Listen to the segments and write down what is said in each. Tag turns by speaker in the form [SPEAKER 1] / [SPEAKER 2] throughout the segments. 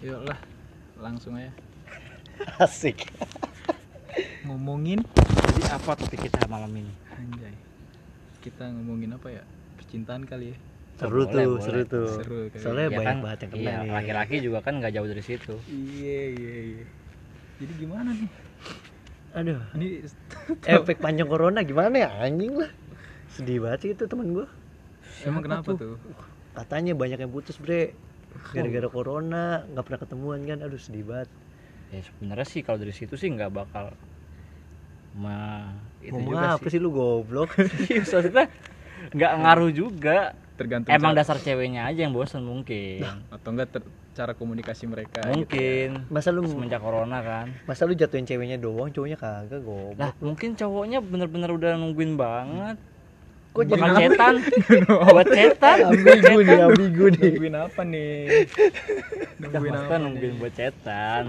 [SPEAKER 1] Yuk lah, langsung aja
[SPEAKER 2] Asik.
[SPEAKER 1] ngomongin
[SPEAKER 2] Jadi apa topik kita malam ini?
[SPEAKER 1] anjay. Kita ngomongin apa ya? Percintaan kali ya.
[SPEAKER 2] Seru
[SPEAKER 3] Boleh,
[SPEAKER 2] tuh,
[SPEAKER 3] boleh.
[SPEAKER 2] seru tuh.
[SPEAKER 1] Seru kali.
[SPEAKER 2] Soalnya
[SPEAKER 3] Iya
[SPEAKER 2] Eh, banyak
[SPEAKER 3] kan?
[SPEAKER 2] banget yang kena
[SPEAKER 3] Iya,
[SPEAKER 2] nih.
[SPEAKER 3] laki-laki juga kan nggak jauh dari situ.
[SPEAKER 1] Iya, iya, iya. Jadi gimana nih?
[SPEAKER 2] Aduh.
[SPEAKER 1] Ini
[SPEAKER 2] Efek panjang corona gimana ya anjing lah. Sedih banget sih itu temen gua.
[SPEAKER 1] emang kenapa tuh?
[SPEAKER 2] Katanya banyak yang putus, Bre. Gara-gara corona, nggak pernah ketemuan kan. Aduh, sedih banget.
[SPEAKER 3] Ya sebenarnya sih kalau dari situ sih nggak bakal ma itu
[SPEAKER 2] Ngomong
[SPEAKER 3] juga
[SPEAKER 2] apa sih lu goblok?
[SPEAKER 3] Iya, maksudnya nggak ngaruh juga.
[SPEAKER 1] Tergantung
[SPEAKER 3] Emang
[SPEAKER 1] cara-
[SPEAKER 3] dasar ceweknya aja yang bosan mungkin.
[SPEAKER 1] atau enggak ter- cara komunikasi mereka gitu.
[SPEAKER 3] Hmm? Mungkin
[SPEAKER 2] Masa lu
[SPEAKER 3] semenjak corona kan.
[SPEAKER 2] masa lu jatuhin ceweknya doang, cowoknya kagak goblok.
[SPEAKER 3] Lah, mungkin cowoknya bener-bener udah nungguin banget.
[SPEAKER 2] Kok
[SPEAKER 3] Buat
[SPEAKER 2] jadi
[SPEAKER 3] cetan? Buat cetan.
[SPEAKER 2] ambigu nih, ambigu nih.
[SPEAKER 1] Nungguin apa nih? Nungguin apa?
[SPEAKER 3] Maksudnya nungguin buat cetan.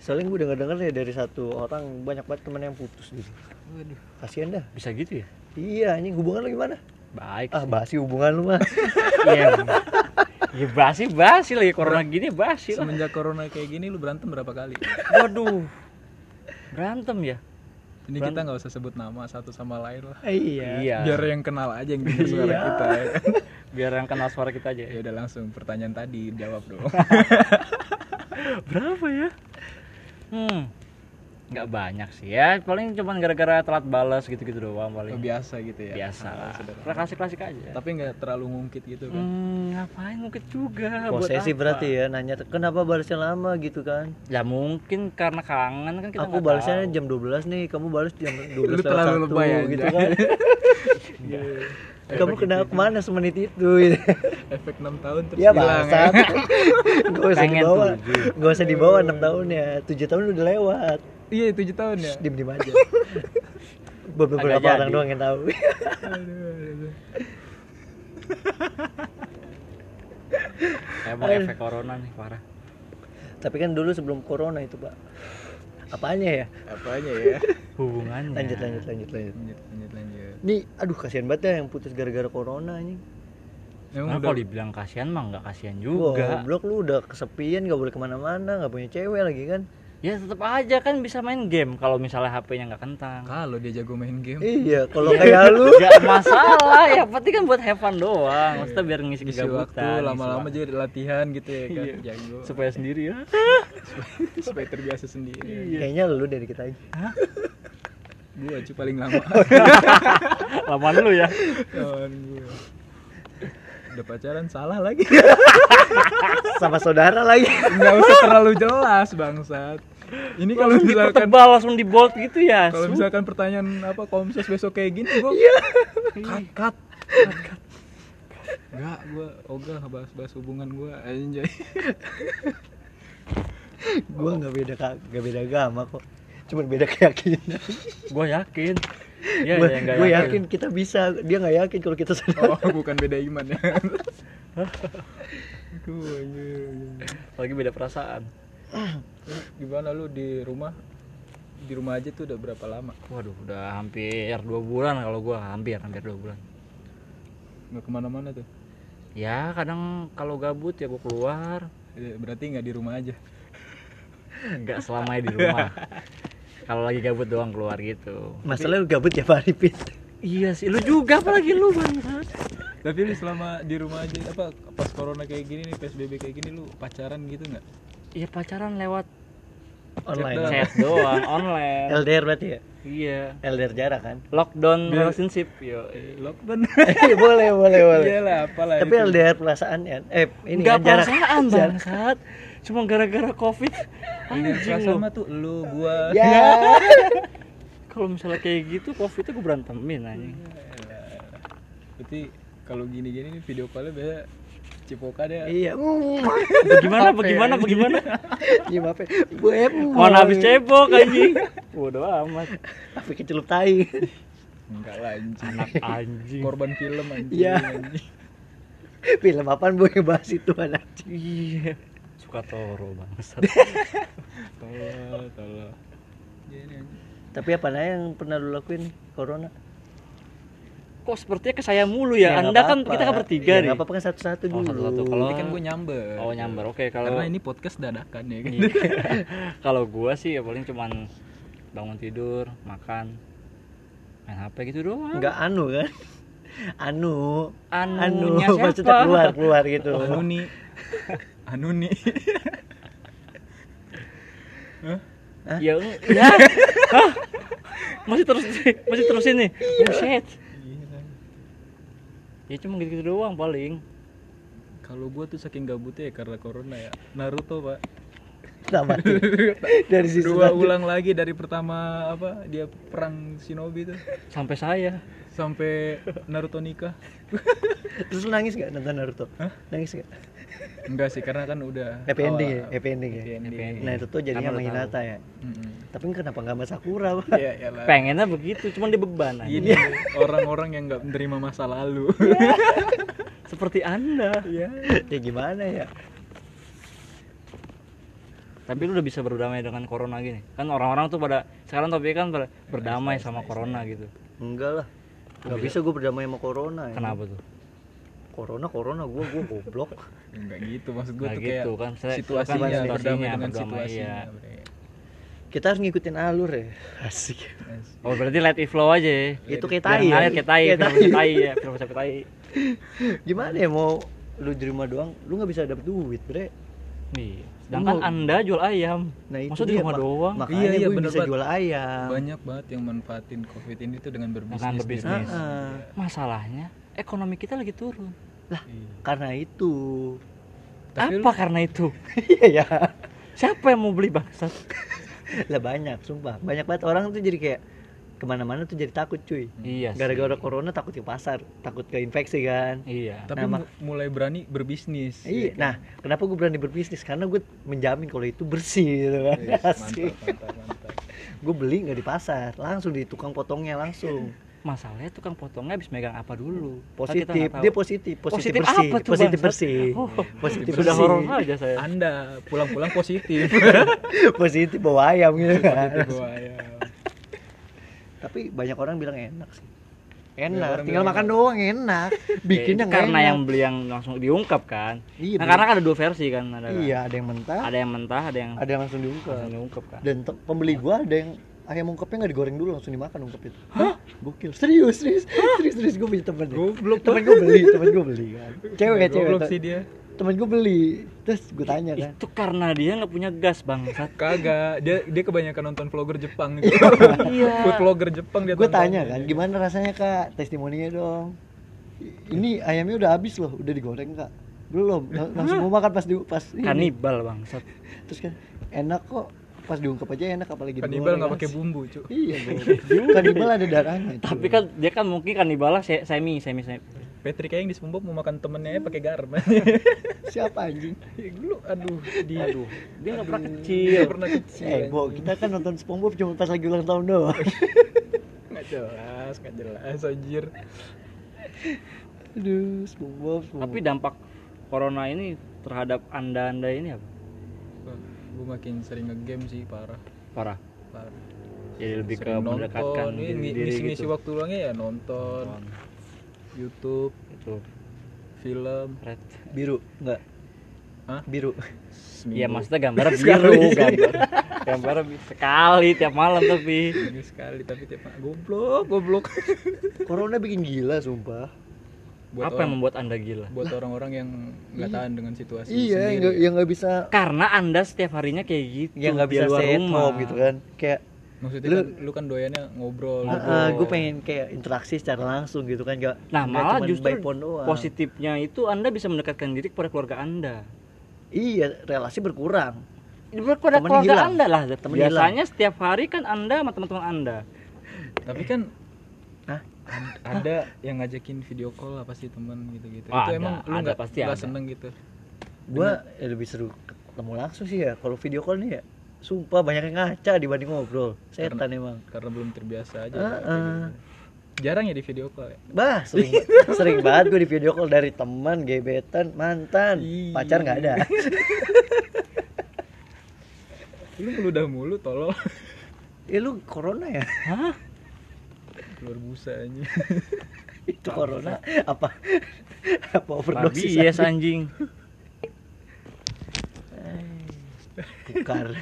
[SPEAKER 2] Soalnya gue denger dengar ya dari satu orang banyak banget temen yang putus gitu.
[SPEAKER 1] Waduh.
[SPEAKER 2] Kasian dah.
[SPEAKER 3] Bisa gitu ya?
[SPEAKER 2] Iya, anjing hubungan lu gimana?
[SPEAKER 3] Baik.
[SPEAKER 2] Ah, basi hubungan lu mah.
[SPEAKER 3] Iya. Ya basi basi lagi corona
[SPEAKER 2] Iya.
[SPEAKER 3] gini basi lah.
[SPEAKER 1] Semenjak corona kayak gini lu berantem berapa kali?
[SPEAKER 3] Waduh. Berantem ya?
[SPEAKER 1] Ini kita nggak usah sebut nama satu sama lain lah.
[SPEAKER 2] iya.
[SPEAKER 3] Ya.
[SPEAKER 1] Biar yang kenal aja yang denger suara
[SPEAKER 2] Iya.
[SPEAKER 1] kita. Ya. kan?
[SPEAKER 3] Biar yang kenal suara kita
[SPEAKER 1] ya
[SPEAKER 3] aja. iya.
[SPEAKER 1] udah langsung pertanyaan tadi jawab dong.
[SPEAKER 3] Berapa ya? Hmm. Nggak banyak sih ya. Paling cuman gara-gara telat balas gitu-gitu doang
[SPEAKER 1] Oh,
[SPEAKER 3] paling.
[SPEAKER 1] biasa gitu ya.
[SPEAKER 3] Iya. Biasa
[SPEAKER 1] Ah,
[SPEAKER 2] Nah,
[SPEAKER 3] lah.
[SPEAKER 1] sederhana.
[SPEAKER 3] Klasik-klasik aja.
[SPEAKER 1] Tapi nggak terlalu ngungkit gitu kan.
[SPEAKER 3] Hmm, ngapain mungkin juga Ah, buat
[SPEAKER 2] Posesif
[SPEAKER 3] apa?
[SPEAKER 2] berarti ya nanya kenapa balasnya lama gitu kan.
[SPEAKER 3] Ya mungkin karena kangen kan kita
[SPEAKER 2] Aku
[SPEAKER 3] nggak
[SPEAKER 2] balasnya
[SPEAKER 3] tahu.
[SPEAKER 2] jam 12 nih, kamu balas jam 12
[SPEAKER 1] Lu terlalu
[SPEAKER 2] lewat satu,
[SPEAKER 3] ya,
[SPEAKER 1] lebay aja.
[SPEAKER 2] gitu kan.
[SPEAKER 1] Iya.
[SPEAKER 2] kamu kena kemana semenit itu? gitu.
[SPEAKER 1] Efek 6 tahun terus
[SPEAKER 2] ya
[SPEAKER 1] hilang ya.
[SPEAKER 2] bangsat. Gak usah
[SPEAKER 3] Pengen
[SPEAKER 2] dibawa.
[SPEAKER 3] tujuh.
[SPEAKER 2] Gak usah dibawa 6 tahun ya. 7 tahun udah lewat.
[SPEAKER 1] Iya 7 tahun ya.
[SPEAKER 2] Diem diem aja. Beberapa
[SPEAKER 3] Agak
[SPEAKER 2] orang
[SPEAKER 3] jadi.
[SPEAKER 2] doang yang tahu.
[SPEAKER 1] Aduh, aduh.
[SPEAKER 3] Emang efek corona nih parah.
[SPEAKER 2] Tapi kan dulu sebelum corona itu, Pak. Apanya ya?
[SPEAKER 1] Apanya ya?
[SPEAKER 3] Hubungannya.
[SPEAKER 2] Lanjut lanjut lanjut lanjut.
[SPEAKER 1] Lanjut lanjut lanjut.
[SPEAKER 2] Nih, aduh kasihan banget ya yang putus gara-gara corona anjing.
[SPEAKER 1] Emang
[SPEAKER 3] Nah,
[SPEAKER 1] udah
[SPEAKER 3] kalau dibilang kasihan mah nggak kasihan juga.
[SPEAKER 2] Goblok lu udah kesepian, gak boleh kemana-mana, gak punya cewek lagi kan.
[SPEAKER 3] Ya tetap aja kan bisa main game kalau misalnya HP-nya nggak kentang.
[SPEAKER 1] kalau dia jago main game.
[SPEAKER 2] Iya, kalau kayak lu
[SPEAKER 3] Gak masalah, ya penting kan buat have fun doang. Maksudnya biar ngisi
[SPEAKER 1] Ngisi
[SPEAKER 3] kegabutan.
[SPEAKER 1] Iya. waktu
[SPEAKER 3] ngisi
[SPEAKER 1] lama-lama
[SPEAKER 3] waktu.
[SPEAKER 1] jadi latihan gitu ya kan jago
[SPEAKER 3] supaya sendiri ya.
[SPEAKER 1] supaya terbiasa sendiri.
[SPEAKER 2] Kayaknya lu dari kita aja.
[SPEAKER 1] Gua aja paling lama.
[SPEAKER 3] lama dulu ya.
[SPEAKER 1] Kawan gua. Udah pacaran salah lagi.
[SPEAKER 2] Sama saudara lagi.
[SPEAKER 1] nggak usah terlalu jelas bangsat ini kalau
[SPEAKER 3] Langsung
[SPEAKER 1] misalkan
[SPEAKER 3] dipertebal, langsung di bold gitu ya.
[SPEAKER 1] kalau
[SPEAKER 3] Su.
[SPEAKER 1] misalkan pertanyaan apa komses besok kayak gini gue
[SPEAKER 2] Iya.
[SPEAKER 1] cut cut Enggak, gue ogah bahas-bahas hubungan gue anjay
[SPEAKER 2] Gua nggak beda ka- nggak beda agama kok. Cuman beda keyakinan.
[SPEAKER 3] Gua yakin. Ya,
[SPEAKER 2] Gua
[SPEAKER 3] ya, nggak
[SPEAKER 2] gua yakin kita bisa. Dia nggak yakin kalau kita saudara.
[SPEAKER 1] Oh, bukan beda iman ya Aduh, anjay, anjay.
[SPEAKER 3] Lagi beda perasaan.
[SPEAKER 1] Lu Gimana lu di rumah? Di rumah aja tuh udah berapa lama?
[SPEAKER 3] Waduh, udah hampir dua bulan kalau gua hampir hampir dua bulan.
[SPEAKER 1] Nggak kemana-mana tuh?
[SPEAKER 3] Ya kadang kalau gabut ya gua keluar.
[SPEAKER 1] Eh, Berarti nggak di rumah aja?
[SPEAKER 3] Nggak selamanya di rumah. kalau lagi gabut doang keluar gitu.
[SPEAKER 2] Masalahnya lu gabut ya Pak Arifin.
[SPEAKER 3] Iya sih, lu juga apalagi lu bangsat.
[SPEAKER 1] Tapi lu selama di rumah aja, apa pas corona kayak gini nih, PSBB kayak gini lu pacaran gitu nggak?
[SPEAKER 3] Iya pacaran lewat
[SPEAKER 2] Online.
[SPEAKER 3] chat doang, online.
[SPEAKER 2] LDR berarti ya?
[SPEAKER 3] Iya.
[SPEAKER 2] LDR jarak kan?
[SPEAKER 3] Lockdown relationship yo.
[SPEAKER 1] Eh, Lockdown.
[SPEAKER 2] boleh, boleh, Iya, boleh.
[SPEAKER 1] Iyalah, apalah
[SPEAKER 2] Tapi
[SPEAKER 1] itu.
[SPEAKER 2] LDR perasaan ya? Eh, ini
[SPEAKER 3] Enggak
[SPEAKER 2] kan jarak.
[SPEAKER 3] perasaan bangsat. Cuma gara-gara Covid.
[SPEAKER 1] LDR
[SPEAKER 3] Anjing
[SPEAKER 1] perasaan
[SPEAKER 3] Iya, lu.
[SPEAKER 1] mah tuh lu, gua.
[SPEAKER 2] Ya.
[SPEAKER 3] Kalau misalnya kayak gitu Covid itu gue berantemin anjing.
[SPEAKER 1] Berarti kalau gini-gini nih video call-nya biasa cipokan ya.
[SPEAKER 2] Iya. ya? Mm.
[SPEAKER 3] Bagaimana bagaimana bagaimana?
[SPEAKER 2] Iya, maaf ya. Bu Em.
[SPEAKER 3] Mana habis
[SPEAKER 2] Iya.
[SPEAKER 3] cebok anjing. Bodoh amat.
[SPEAKER 2] Tapi kecelup tai.
[SPEAKER 1] Enggak lah anjing.
[SPEAKER 3] Anak anjing.
[SPEAKER 1] Korban film anjing.
[SPEAKER 2] Iya.
[SPEAKER 1] anjing.
[SPEAKER 2] Film apaan Bu yang bahas itu anak?
[SPEAKER 3] Iya. Suka toro bangsat.
[SPEAKER 1] Tolol, tolol. Gini, anjing.
[SPEAKER 2] Tapi apa aja yang pernah lu lakuin nih, corona?
[SPEAKER 3] kok sepertinya ke saya mulu ya,
[SPEAKER 2] nggak
[SPEAKER 3] anda kan
[SPEAKER 2] apa-apa.
[SPEAKER 3] kita kan bertiga
[SPEAKER 2] Ya,
[SPEAKER 3] nih
[SPEAKER 2] nggak apa-apa kan satu-satu
[SPEAKER 3] Oh,
[SPEAKER 2] dulu
[SPEAKER 3] satu-satu. Kalau-
[SPEAKER 1] Ini kan gue nyamber.
[SPEAKER 3] oh
[SPEAKER 2] Iya.
[SPEAKER 3] nyamber oke kalau
[SPEAKER 1] Karena ini podcast dadakan ya kan.
[SPEAKER 3] kalau gua sih ya paling cuman bangun tidur makan main HP gitu doang
[SPEAKER 2] nggak anu kan anu anu
[SPEAKER 3] anunya siapa
[SPEAKER 2] maksudnya keluar keluar gitu
[SPEAKER 1] Anu nih. Anu nih.
[SPEAKER 3] ya ya Hah? masih terus masih terus ini
[SPEAKER 2] Iya.
[SPEAKER 3] buset
[SPEAKER 1] Gila.
[SPEAKER 3] ya cuma gitu, gitu doang paling
[SPEAKER 1] Kalau gue tuh saking gabutnya ya karena corona ya. Naruto, Pak.
[SPEAKER 2] Tamat. dari sisi
[SPEAKER 1] Dua
[SPEAKER 2] tadi.
[SPEAKER 1] ulang lagi dari pertama apa dia perang shinobi tuh
[SPEAKER 3] sampai saya
[SPEAKER 1] sampai Naruto nikah.
[SPEAKER 2] terus lu nangis nggak nonton Naruto nangis nggak
[SPEAKER 1] Enggak sih karena kan udah
[SPEAKER 2] happy ending ya
[SPEAKER 1] awal-
[SPEAKER 2] happy ending ya
[SPEAKER 1] happy ending.
[SPEAKER 3] Happy ending.
[SPEAKER 2] nah itu tuh jadinya
[SPEAKER 3] Karena
[SPEAKER 2] sama
[SPEAKER 3] lu
[SPEAKER 2] Hinata ya
[SPEAKER 1] Mm-mm.
[SPEAKER 2] tapi kenapa nggak sama Sakura Pak?
[SPEAKER 1] Ya, iyalah.
[SPEAKER 3] pengennya begitu cuman dia beban
[SPEAKER 2] Iya.
[SPEAKER 3] aja.
[SPEAKER 1] Ini orang-orang yang nggak menerima masa lalu. Iya.
[SPEAKER 3] seperti anda
[SPEAKER 2] ya gimana ya
[SPEAKER 3] tapi lu udah bisa berdamai dengan corona gini kan orang-orang tuh pada sekarang topiknya kan pada berdamai
[SPEAKER 2] Iya,
[SPEAKER 3] sama corona gitu
[SPEAKER 2] enggak lah
[SPEAKER 3] Iya.
[SPEAKER 2] nggak bisa gue berdamai sama corona ya.
[SPEAKER 3] kenapa tuh
[SPEAKER 2] corona corona gue gue goblok
[SPEAKER 1] Enggak gitu maksud gue
[SPEAKER 3] Nah,
[SPEAKER 1] tuh
[SPEAKER 3] gitu
[SPEAKER 1] kayak
[SPEAKER 3] kan. Saya-
[SPEAKER 1] situasinya
[SPEAKER 3] kan situasinya,
[SPEAKER 1] berdamai dengan
[SPEAKER 3] berdamai,
[SPEAKER 1] situasinya.
[SPEAKER 3] iya.
[SPEAKER 1] bre.
[SPEAKER 2] kita harus ngikutin alur ya asik
[SPEAKER 1] Asik.
[SPEAKER 3] oh berarti let it flow aja ya
[SPEAKER 2] itu kayak
[SPEAKER 3] biar
[SPEAKER 2] tai ya
[SPEAKER 3] ngalir kayak tai
[SPEAKER 2] Kayak
[SPEAKER 3] film
[SPEAKER 2] tai.
[SPEAKER 3] kayak tai ya film sampai tai
[SPEAKER 2] gimana ya mau lu di rumah doang lu nggak bisa dapet duit bre
[SPEAKER 3] Iya. sedangkan
[SPEAKER 2] Lu-
[SPEAKER 3] anda jual ayam
[SPEAKER 2] nah itu
[SPEAKER 3] masa di
[SPEAKER 2] dia,
[SPEAKER 3] rumah
[SPEAKER 2] Mak.
[SPEAKER 3] doang
[SPEAKER 2] makanya
[SPEAKER 1] Iya, iya,
[SPEAKER 2] gue
[SPEAKER 1] bener
[SPEAKER 2] bisa
[SPEAKER 1] banget.
[SPEAKER 2] jual ayam
[SPEAKER 1] Banyak banget yang manfaatin covid ini tuh dengan berbisnis.
[SPEAKER 3] Dengan berbisnis.
[SPEAKER 1] bre.
[SPEAKER 2] Ah,
[SPEAKER 3] masalahnya ekonomi kita lagi turun
[SPEAKER 1] Iya.
[SPEAKER 2] karena itu
[SPEAKER 1] Tapi
[SPEAKER 3] apa karena itu
[SPEAKER 2] iya ya
[SPEAKER 3] siapa yang mau beli bangsat
[SPEAKER 2] lah banyak sumpah banyak banget orang tuh jadi kayak kemana-mana tuh jadi takut cuy
[SPEAKER 3] iya sih.
[SPEAKER 2] gara-gara corona takut ke pasar takut ke infeksi kan
[SPEAKER 3] iya
[SPEAKER 1] Tapi
[SPEAKER 2] Nah,
[SPEAKER 1] mu- mulai berani berbisnis.
[SPEAKER 2] Iya, nah kenapa gue berani berbisnis? Karena gue menjamin kalau itu bersih gitu kan.
[SPEAKER 1] Yes,
[SPEAKER 2] Asik.
[SPEAKER 1] Iya, mantap, mantap, mantap.
[SPEAKER 2] Gue beli nggak di pasar, langsung di tukang potongnya langsung.
[SPEAKER 3] masalahnya tukang potongnya habis megang apa dulu Kan
[SPEAKER 2] Positif,
[SPEAKER 3] kita nggak tahu.
[SPEAKER 2] dia positif, positif,
[SPEAKER 3] Positif
[SPEAKER 2] bersih,
[SPEAKER 3] apa tuh,
[SPEAKER 2] positif
[SPEAKER 3] bangsat?
[SPEAKER 2] bersih,
[SPEAKER 3] Oh,
[SPEAKER 2] positif
[SPEAKER 3] sudah
[SPEAKER 2] bersih,
[SPEAKER 3] horor aja saya
[SPEAKER 1] Anda pulang-pulang positif.
[SPEAKER 2] positif bawa ayam gitu kan.
[SPEAKER 1] Positif, wah, ya.
[SPEAKER 2] Tapi banyak orang bilang enak sih.
[SPEAKER 1] Banyak
[SPEAKER 2] Enak,
[SPEAKER 1] orang
[SPEAKER 2] tinggal
[SPEAKER 1] bilang
[SPEAKER 2] makan doang enak. Bikin
[SPEAKER 3] Ya,
[SPEAKER 2] yang
[SPEAKER 3] karena
[SPEAKER 2] enak.
[SPEAKER 3] yang beli yang langsung diungkap kan
[SPEAKER 2] Iya,
[SPEAKER 3] nah,
[SPEAKER 2] beli.
[SPEAKER 3] karena kan ada dua versi kan ada kan?
[SPEAKER 2] iya ada yang mentah,
[SPEAKER 3] ada yang mentah ada yang
[SPEAKER 2] ada yang langsung
[SPEAKER 3] langsung
[SPEAKER 2] diungkep.
[SPEAKER 3] diungkap kan
[SPEAKER 2] Dan te- pembeli gua ada yang ayam ungkepnya nggak digoreng dulu langsung dimakan ungkep itu. Hah? Gokil, serius, serius, serius, serius gue punya temen. deh.
[SPEAKER 1] Goblok.
[SPEAKER 2] temen gue beli temen gue beli kan cewek cewek
[SPEAKER 1] Goblok sih dia.
[SPEAKER 2] temen gue beli terus gue tanya kan
[SPEAKER 3] itu karena dia nggak punya gas bangsat
[SPEAKER 1] Kagak, dia dia kebanyakan nonton vlogger Jepang gitu.
[SPEAKER 3] Iya.
[SPEAKER 1] Food vlogger Jepang dia
[SPEAKER 2] gue
[SPEAKER 1] tonton.
[SPEAKER 2] tanya kan gimana rasanya kak testimoninya dong ini ayamnya udah habis loh udah digoreng kak belum Lang- langsung mau makan pas di pas ini.
[SPEAKER 3] kanibal bangsat
[SPEAKER 2] terus kan enak kok pas diungkep aja enak apalagi
[SPEAKER 1] Kanibal Kan nggak pakai
[SPEAKER 2] digoreng,
[SPEAKER 1] bumbu, cu.
[SPEAKER 2] asik. iya bro. kanibal ada darahnya cuy.
[SPEAKER 3] tapi kan dia kan mungkin kanibal se semi semi semi
[SPEAKER 1] Patrick yang di SpongeBob mau makan temennya aja pakai garam.
[SPEAKER 2] siapa anjing
[SPEAKER 1] Dulu aduh di
[SPEAKER 3] aduh Iya. dia nggak pernah
[SPEAKER 1] Dia
[SPEAKER 3] kecil
[SPEAKER 1] pernah kecil.
[SPEAKER 2] eh
[SPEAKER 1] anjing.
[SPEAKER 2] bo kita kan nonton SpongeBob cuma pas lagi ulang tahun doang
[SPEAKER 1] Nggak jelas, nggak jelas anjir.
[SPEAKER 2] aduh SpongeBob
[SPEAKER 3] tapi
[SPEAKER 2] SpongeBob
[SPEAKER 3] dampak corona ini terhadap anda anda ini apa
[SPEAKER 1] Gue makin sering ngegame sih parah.
[SPEAKER 3] parah
[SPEAKER 1] parah.
[SPEAKER 3] jadi lebih ke
[SPEAKER 1] Sering
[SPEAKER 3] mendekatkan
[SPEAKER 1] nonton, iya,
[SPEAKER 3] diri,
[SPEAKER 1] ngi-
[SPEAKER 3] diri
[SPEAKER 1] ngisi-ngisi
[SPEAKER 3] gitu
[SPEAKER 1] waktu luangnya ya nonton YouTube,
[SPEAKER 3] itu
[SPEAKER 1] film,
[SPEAKER 3] red
[SPEAKER 2] biru enggak
[SPEAKER 1] Hah?
[SPEAKER 2] biru
[SPEAKER 1] seminggu.
[SPEAKER 3] Iya maksudnya gambar biru gambar gambar bi- sekali tiap malam tapi
[SPEAKER 1] Seminggu sekali tapi tiap goblok, goblok.
[SPEAKER 2] Corona bikin gila sumpah.
[SPEAKER 1] buat
[SPEAKER 3] apa yang
[SPEAKER 1] orang,
[SPEAKER 3] membuat anda gila
[SPEAKER 1] buat orang-orang yang nggak tahan dengan situasi
[SPEAKER 2] iya, yang
[SPEAKER 1] sendiri.
[SPEAKER 2] nggak- yang nggak bisa
[SPEAKER 3] karena anda setiap harinya kayak gitu
[SPEAKER 2] yang nggak
[SPEAKER 3] di
[SPEAKER 2] bisa
[SPEAKER 3] luar
[SPEAKER 2] stay at
[SPEAKER 3] rumah Nah,
[SPEAKER 2] home gitu kan. Kayak
[SPEAKER 1] Maksudnya
[SPEAKER 2] Lu-
[SPEAKER 1] kan, lu kan doyannya ngobrol. gitu.
[SPEAKER 2] gue pengen kayak interaksi secara langsung gitu kan nggak
[SPEAKER 3] nah
[SPEAKER 2] nggak
[SPEAKER 3] malah
[SPEAKER 2] cuman
[SPEAKER 3] justru
[SPEAKER 2] by phone doang.
[SPEAKER 3] positifnya itu anda bisa mendekatkan diri kepada keluarga anda
[SPEAKER 2] Iya, relasi berkurang. Temennya
[SPEAKER 3] kepada keluarga
[SPEAKER 2] hilang.
[SPEAKER 3] anda lah
[SPEAKER 2] Temennya
[SPEAKER 3] biasanya setiap hari kan anda sama teman-teman anda
[SPEAKER 1] Tapi kan
[SPEAKER 2] Hah?
[SPEAKER 1] ad- ada yang ngajakin video call lah pasti temen gitu-gitu.
[SPEAKER 3] Oh,
[SPEAKER 1] Itu
[SPEAKER 3] ada,
[SPEAKER 1] emang lu
[SPEAKER 3] ada,
[SPEAKER 1] nggak
[SPEAKER 3] pasti
[SPEAKER 1] nggak
[SPEAKER 3] ada.
[SPEAKER 1] seneng gitu.
[SPEAKER 2] Gua ya lebih seru ketemu langsung sih ya. Kalau video call nih ya, sumpah banyak yang ngaca dibanding ngobrol. Setan emang.
[SPEAKER 1] Karena belum terbiasa aja.
[SPEAKER 2] Ah,
[SPEAKER 1] kayak
[SPEAKER 2] ah.
[SPEAKER 1] gitu. Jarang ya di video call ya.
[SPEAKER 2] Bah, sering, sering banget gue di video call dari teman, gebetan, mantan,
[SPEAKER 1] Ih.
[SPEAKER 2] pacar nggak ada.
[SPEAKER 1] Lu ngeludah mulu tolol.
[SPEAKER 2] Eh lu corona ya?
[SPEAKER 3] hah
[SPEAKER 1] Keluar busa aja.
[SPEAKER 2] itu corona apa apa overdosis
[SPEAKER 3] Rabies anjing.
[SPEAKER 2] Kukar.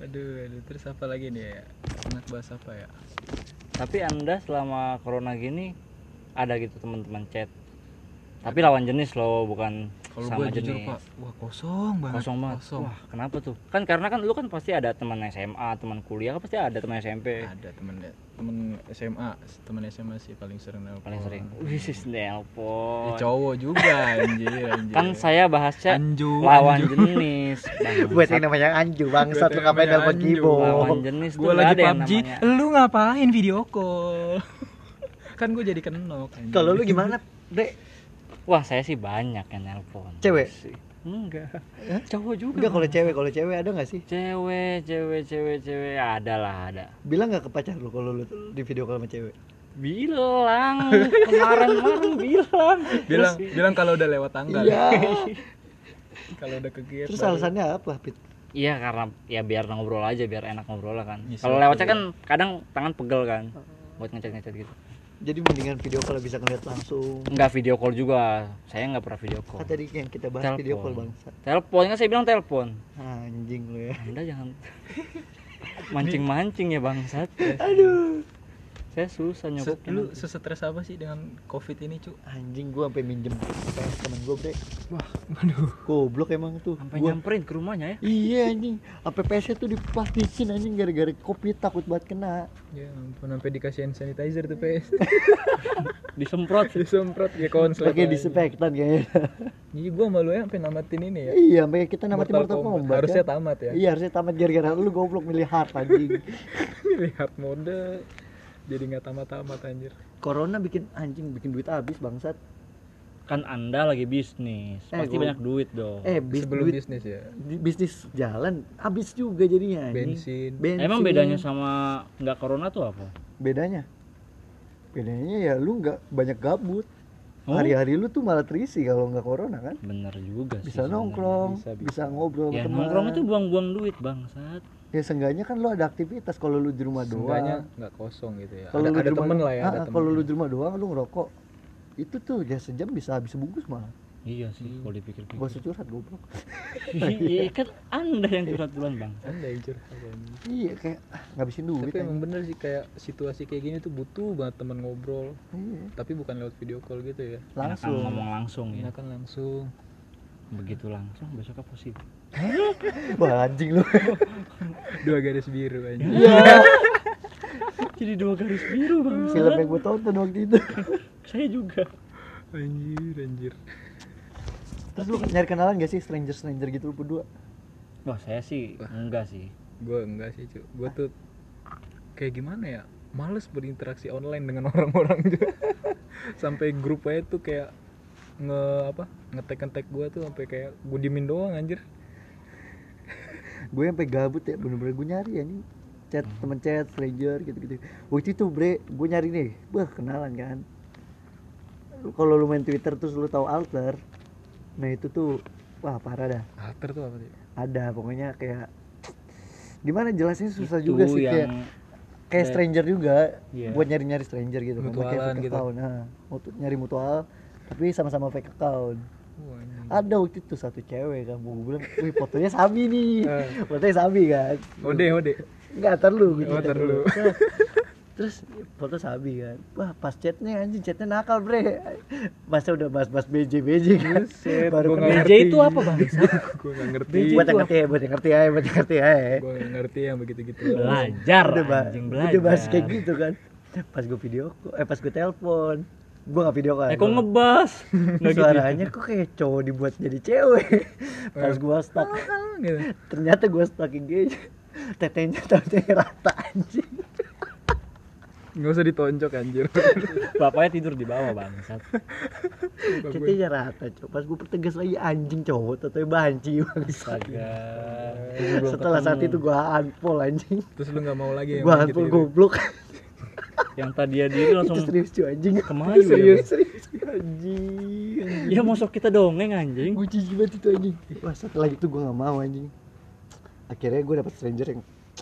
[SPEAKER 1] aduh aduh terus apa lagi nih ya enak bahas apa ya
[SPEAKER 3] Tapi Anda selama corona gini ada gitu teman-teman chat. Tapi lawan jenis loh, bukan
[SPEAKER 1] kalau
[SPEAKER 3] sama
[SPEAKER 1] gue jujur
[SPEAKER 3] jenis.
[SPEAKER 1] pak wah kosong banget
[SPEAKER 3] kosong banget. Wah, kenapa tuh? Kan karena kan lu kan pasti ada teman SMA, teman kuliah, kan pasti ada teman SMP.
[SPEAKER 1] ada temen temen SMA temen SMA sih paling sering nelpon
[SPEAKER 3] Paling sering. Wih, sis,
[SPEAKER 1] Ya,
[SPEAKER 3] nelpon.
[SPEAKER 1] cowok juga anjir anjir
[SPEAKER 3] kan saya bahasnya
[SPEAKER 1] Anju,
[SPEAKER 3] lawan
[SPEAKER 1] anju.
[SPEAKER 3] jenis.
[SPEAKER 2] buat
[SPEAKER 3] Bangsat.
[SPEAKER 2] yang namanya anju bangsat lu ngapain
[SPEAKER 1] namanya
[SPEAKER 2] telepon
[SPEAKER 1] Anju.
[SPEAKER 2] kibo
[SPEAKER 3] lawan jenis tuh
[SPEAKER 1] gue
[SPEAKER 3] nggak
[SPEAKER 1] lagi
[SPEAKER 3] ada yang
[SPEAKER 1] PUBG
[SPEAKER 3] namanya.
[SPEAKER 1] lu ngapain video call kan gue jadi kenok anjing.
[SPEAKER 2] kalau lu gimana dek
[SPEAKER 3] Wah, saya sih banyak yang nelpon.
[SPEAKER 2] Cewek?
[SPEAKER 3] Sih. Enggak.
[SPEAKER 2] Hah?
[SPEAKER 3] Cowok juga.
[SPEAKER 2] enggak kalau cewek kalau cewek ada nggak sih
[SPEAKER 3] cewek, cewek, cewek, cewek ada lah ada.
[SPEAKER 2] bilang nggak ke pacar lu kalau lu di video call sama cewek
[SPEAKER 3] Bilang kemarin-kemarin bilang.
[SPEAKER 1] bilang bilang kalau udah lewat tanggal
[SPEAKER 2] iya
[SPEAKER 1] kalau udah kegiatan
[SPEAKER 2] terus alasannya apa pit
[SPEAKER 3] Iya karena ya biar ngobrol aja biar enak ngobrol lah kan.
[SPEAKER 1] Iya,
[SPEAKER 3] Kalau
[SPEAKER 1] sih,
[SPEAKER 3] lewat
[SPEAKER 1] iya.
[SPEAKER 3] chat kan kadang tangan pegel kan buat ngecek-ngecek gitu.
[SPEAKER 2] jadi mendingan video call bisa ngeliat langsung
[SPEAKER 3] Enggak video call juga. Saya nggak pernah video
[SPEAKER 2] kan
[SPEAKER 3] call.
[SPEAKER 2] tadi yang kita bahas video call
[SPEAKER 3] Telepon.
[SPEAKER 2] bangsat
[SPEAKER 3] Telepon kan saya bilang telepon.
[SPEAKER 2] anjing lu ya
[SPEAKER 3] Anda jangan mancing-mancing ya bangsat.
[SPEAKER 2] aduh
[SPEAKER 3] Saya
[SPEAKER 1] Se-
[SPEAKER 3] susah nyopoknya.
[SPEAKER 1] lu
[SPEAKER 3] nanti.
[SPEAKER 1] sesetres apa sih dengan covid ini cu
[SPEAKER 2] anjing gua sampai minjem PS temen gua bre
[SPEAKER 1] wah aduh
[SPEAKER 2] goblok emang tuh
[SPEAKER 3] sampai
[SPEAKER 2] gua
[SPEAKER 3] nyamperin ke rumahnya ya.
[SPEAKER 2] Iya anjing, apa PS tuh dipastikan anjing gara-gara kopi takut buat kena.
[SPEAKER 1] ya ampun sampai dikasihin sanitizer tuh PS
[SPEAKER 3] Disemprot.
[SPEAKER 1] disemprot ya konslet
[SPEAKER 2] Pakai disinfektan kayaknya.
[SPEAKER 1] jadi gue malu ya sampai namatin ini ya
[SPEAKER 2] iya, sampai kita namatin
[SPEAKER 1] Mortal
[SPEAKER 2] Mortal
[SPEAKER 1] Kombat.
[SPEAKER 2] Kombat.
[SPEAKER 1] Harusnya
[SPEAKER 2] kan?
[SPEAKER 1] tamat ya.
[SPEAKER 2] Iya, harusnya tamat gara-gara lu goblok milih hard anjing.
[SPEAKER 1] milih hard mode jadi nggak tamat-tamat anjir
[SPEAKER 2] Corona bikin anjing bikin duit habis bangsat.
[SPEAKER 3] Kan Anda lagi bisnis.
[SPEAKER 2] Eh,
[SPEAKER 3] Pasti
[SPEAKER 2] gua-
[SPEAKER 3] banyak duit dong.
[SPEAKER 2] Eh, bis
[SPEAKER 1] sebelum
[SPEAKER 2] duit
[SPEAKER 1] bisnis ya
[SPEAKER 2] di- bisnis jalan habis juga jadinya anjing.
[SPEAKER 1] Bensin.
[SPEAKER 2] iya
[SPEAKER 3] Emang bedanya sama nggak corona tuh apa?
[SPEAKER 2] bedanya? Bedanya ya lu nggak banyak gabut.
[SPEAKER 3] Oh.
[SPEAKER 2] Hari-hari lu tuh malah terisi kalau nggak corona kan.
[SPEAKER 3] Bener juga sih.
[SPEAKER 2] Bisa
[SPEAKER 3] sebenarnya.
[SPEAKER 2] nongkrong,
[SPEAKER 1] bisa,
[SPEAKER 2] bisa,
[SPEAKER 1] bisa.
[SPEAKER 2] ngobrol
[SPEAKER 3] Ya
[SPEAKER 2] sama teman.
[SPEAKER 3] nongkrong itu buang-buang duit bangsat.
[SPEAKER 2] ya seenggaknya kan lo ada aktivitas kalau lu di rumah
[SPEAKER 1] Seenggaknya
[SPEAKER 2] doang
[SPEAKER 1] nggak kosong gitu ya
[SPEAKER 2] kalau
[SPEAKER 1] ada,
[SPEAKER 2] lu di
[SPEAKER 1] ada
[SPEAKER 2] rumah-
[SPEAKER 1] temen lah ya ada
[SPEAKER 2] Ah, ah,
[SPEAKER 1] temen.
[SPEAKER 2] kalau lu di rumah doang lu ngerokok itu tuh ya sejam bisa habis sebungkus malah
[SPEAKER 3] Iya sih kalau dipikir-pikir.
[SPEAKER 2] Hmm. gua usah curhat goblok
[SPEAKER 3] Iya kan Anda yang curhat duluan bang.
[SPEAKER 1] Anda yang curhat, anjir.
[SPEAKER 2] iya kayak ah, ngabisin duit
[SPEAKER 1] tapi
[SPEAKER 2] anjing.
[SPEAKER 1] emang bener sih kayak situasi kayak gini tuh butuh banget temen ngobrol
[SPEAKER 2] Iya,
[SPEAKER 1] tapi bukan lewat video call gitu ya
[SPEAKER 2] langsung
[SPEAKER 3] Langsung ngomong langsung
[SPEAKER 2] Hmm.
[SPEAKER 3] ya.
[SPEAKER 1] Enakan langsung
[SPEAKER 3] Begitu langsung besok apa sih?
[SPEAKER 2] wah anjing lu
[SPEAKER 1] dua garis biru anjir
[SPEAKER 3] Jadi dua garis biru bang.
[SPEAKER 2] film yang gua tonton waktu itu
[SPEAKER 3] Hmm. Saya juga.
[SPEAKER 1] anjir anjir
[SPEAKER 2] terus lu nyari kenalan gak sih stranger stranger gitu lu berdua
[SPEAKER 3] Wah saya sih enggak sih.
[SPEAKER 1] gue enggak sih cu gue tuh kayak gimana ya males berinteraksi online dengan orang-orang juga sampai grup aja tuh kayak nge apa ngetek ngetek gue tuh sampai kayak gue dimin doang anjir
[SPEAKER 2] gue sampai gabut ya bener-bener gue nyari ya nih chat
[SPEAKER 1] Hmm.
[SPEAKER 2] temen chat stranger gitu-gitu waktu itu bre gue nyari nih wah kenalan kan Lu- kalau lu main twitter terus lu tahu alter nah itu tuh wah parah dah
[SPEAKER 1] alter tuh apa sih
[SPEAKER 2] ada pokoknya kayak gimana jelasnya susah
[SPEAKER 3] Itu
[SPEAKER 2] juga sih kayak
[SPEAKER 3] yang
[SPEAKER 2] kayak stranger juga
[SPEAKER 3] Iya.
[SPEAKER 2] buat nyari-nyari stranger gitu kan pakai
[SPEAKER 1] Mutualan
[SPEAKER 2] fake
[SPEAKER 1] gitu.
[SPEAKER 2] account nah, mutu- nyari mutual tapi sama-sama fake account
[SPEAKER 1] Wah, anjing.
[SPEAKER 2] ada waktu itu satu cewek kan gue bilang wih fotonya Sabi nih
[SPEAKER 1] Eh.
[SPEAKER 2] fotonya Sabi kan
[SPEAKER 1] ode ode
[SPEAKER 2] Enggak, ntar
[SPEAKER 1] Oh,
[SPEAKER 2] lu cerita
[SPEAKER 1] ntar dulu.
[SPEAKER 2] Nah, Terus foto sabi kan Wah pas chatnya anjing chatnya nakal bre Masa udah bahas-bahas BJ-BJ kan
[SPEAKER 1] Buset,
[SPEAKER 2] Baru
[SPEAKER 1] gua
[SPEAKER 2] kenal.
[SPEAKER 1] nggak
[SPEAKER 3] BJ itu apa bang?
[SPEAKER 1] gue nggak ngerti
[SPEAKER 2] Buat yang ngerti ya, buat yang ngerti ya, buat yang ngerti ya
[SPEAKER 1] gue nggak ngerti yang begitu gitu
[SPEAKER 3] Belajar
[SPEAKER 2] udah, ba-
[SPEAKER 3] anjing belajar.
[SPEAKER 2] udah bahas kayak gitu kan Pas gue video, call- eh pas gue telepon Gue gak video kan
[SPEAKER 3] Eh kok ngebas? Nggak gitu.
[SPEAKER 2] Suaranya kok kayak cowok dibuat jadi cewek Pas gue stuck
[SPEAKER 1] gitu
[SPEAKER 2] Ternyata gue stuck IG Tetenya tetenya rata anjing
[SPEAKER 1] nggak usah ditonjok anjir
[SPEAKER 3] Bapaknya tidur di bawah bang. Gitu.
[SPEAKER 2] Cetiknya rata cok. Pas gue pertegas lagi anjing cowok Tatoy banci bangsat.
[SPEAKER 3] Astaga.
[SPEAKER 2] Setelah saat itu gue unfollow anjing
[SPEAKER 1] terus lu nggak mau
[SPEAKER 3] Iya,
[SPEAKER 1] lagi yang
[SPEAKER 2] Gue
[SPEAKER 1] main
[SPEAKER 2] unfollow
[SPEAKER 1] gitu-gitu?
[SPEAKER 2] goblok
[SPEAKER 3] yang tadi diri
[SPEAKER 2] Itu
[SPEAKER 3] gitu, langsung
[SPEAKER 2] serius cuy anjing
[SPEAKER 3] Kemayu ya,
[SPEAKER 2] Serius serius anjing
[SPEAKER 3] ya masuk kita dongeng anjing.
[SPEAKER 2] Gue jijik banget itu anjing Eh, Wah setelah itu gue gak mau anjing Akhirnya gue dapet stranger yang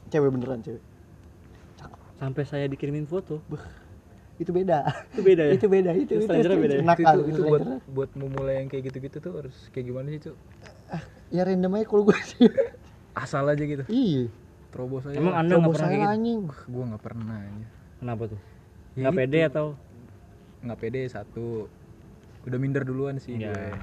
[SPEAKER 2] Cewek beneran cewek
[SPEAKER 3] Sampai saya dikirimin foto.
[SPEAKER 2] itu beda
[SPEAKER 3] Itu beda ya?
[SPEAKER 2] itu beda itu itu,
[SPEAKER 3] Itu Stranger-nya beda ya?
[SPEAKER 1] itu,
[SPEAKER 2] nakal gitu.
[SPEAKER 1] itu, itu buat
[SPEAKER 2] Stranger.
[SPEAKER 1] buat memulai yang kayak gitu-gitu tuh harus kayak gimana sih Cuk?
[SPEAKER 2] ya random aja kalau gue sih
[SPEAKER 1] asal aja gitu
[SPEAKER 2] iya
[SPEAKER 1] terobos aja
[SPEAKER 3] Emang Anda nggak
[SPEAKER 2] coba
[SPEAKER 3] pernah kayak
[SPEAKER 2] saya
[SPEAKER 3] gitu?
[SPEAKER 2] anjing
[SPEAKER 1] gue nggak pernah aja
[SPEAKER 3] Kenapa tuh?
[SPEAKER 1] Ya
[SPEAKER 3] Nggak
[SPEAKER 1] gitu.
[SPEAKER 3] pede atau?
[SPEAKER 1] nggak pede satu udah minder duluan sih
[SPEAKER 3] Ya.
[SPEAKER 1] gue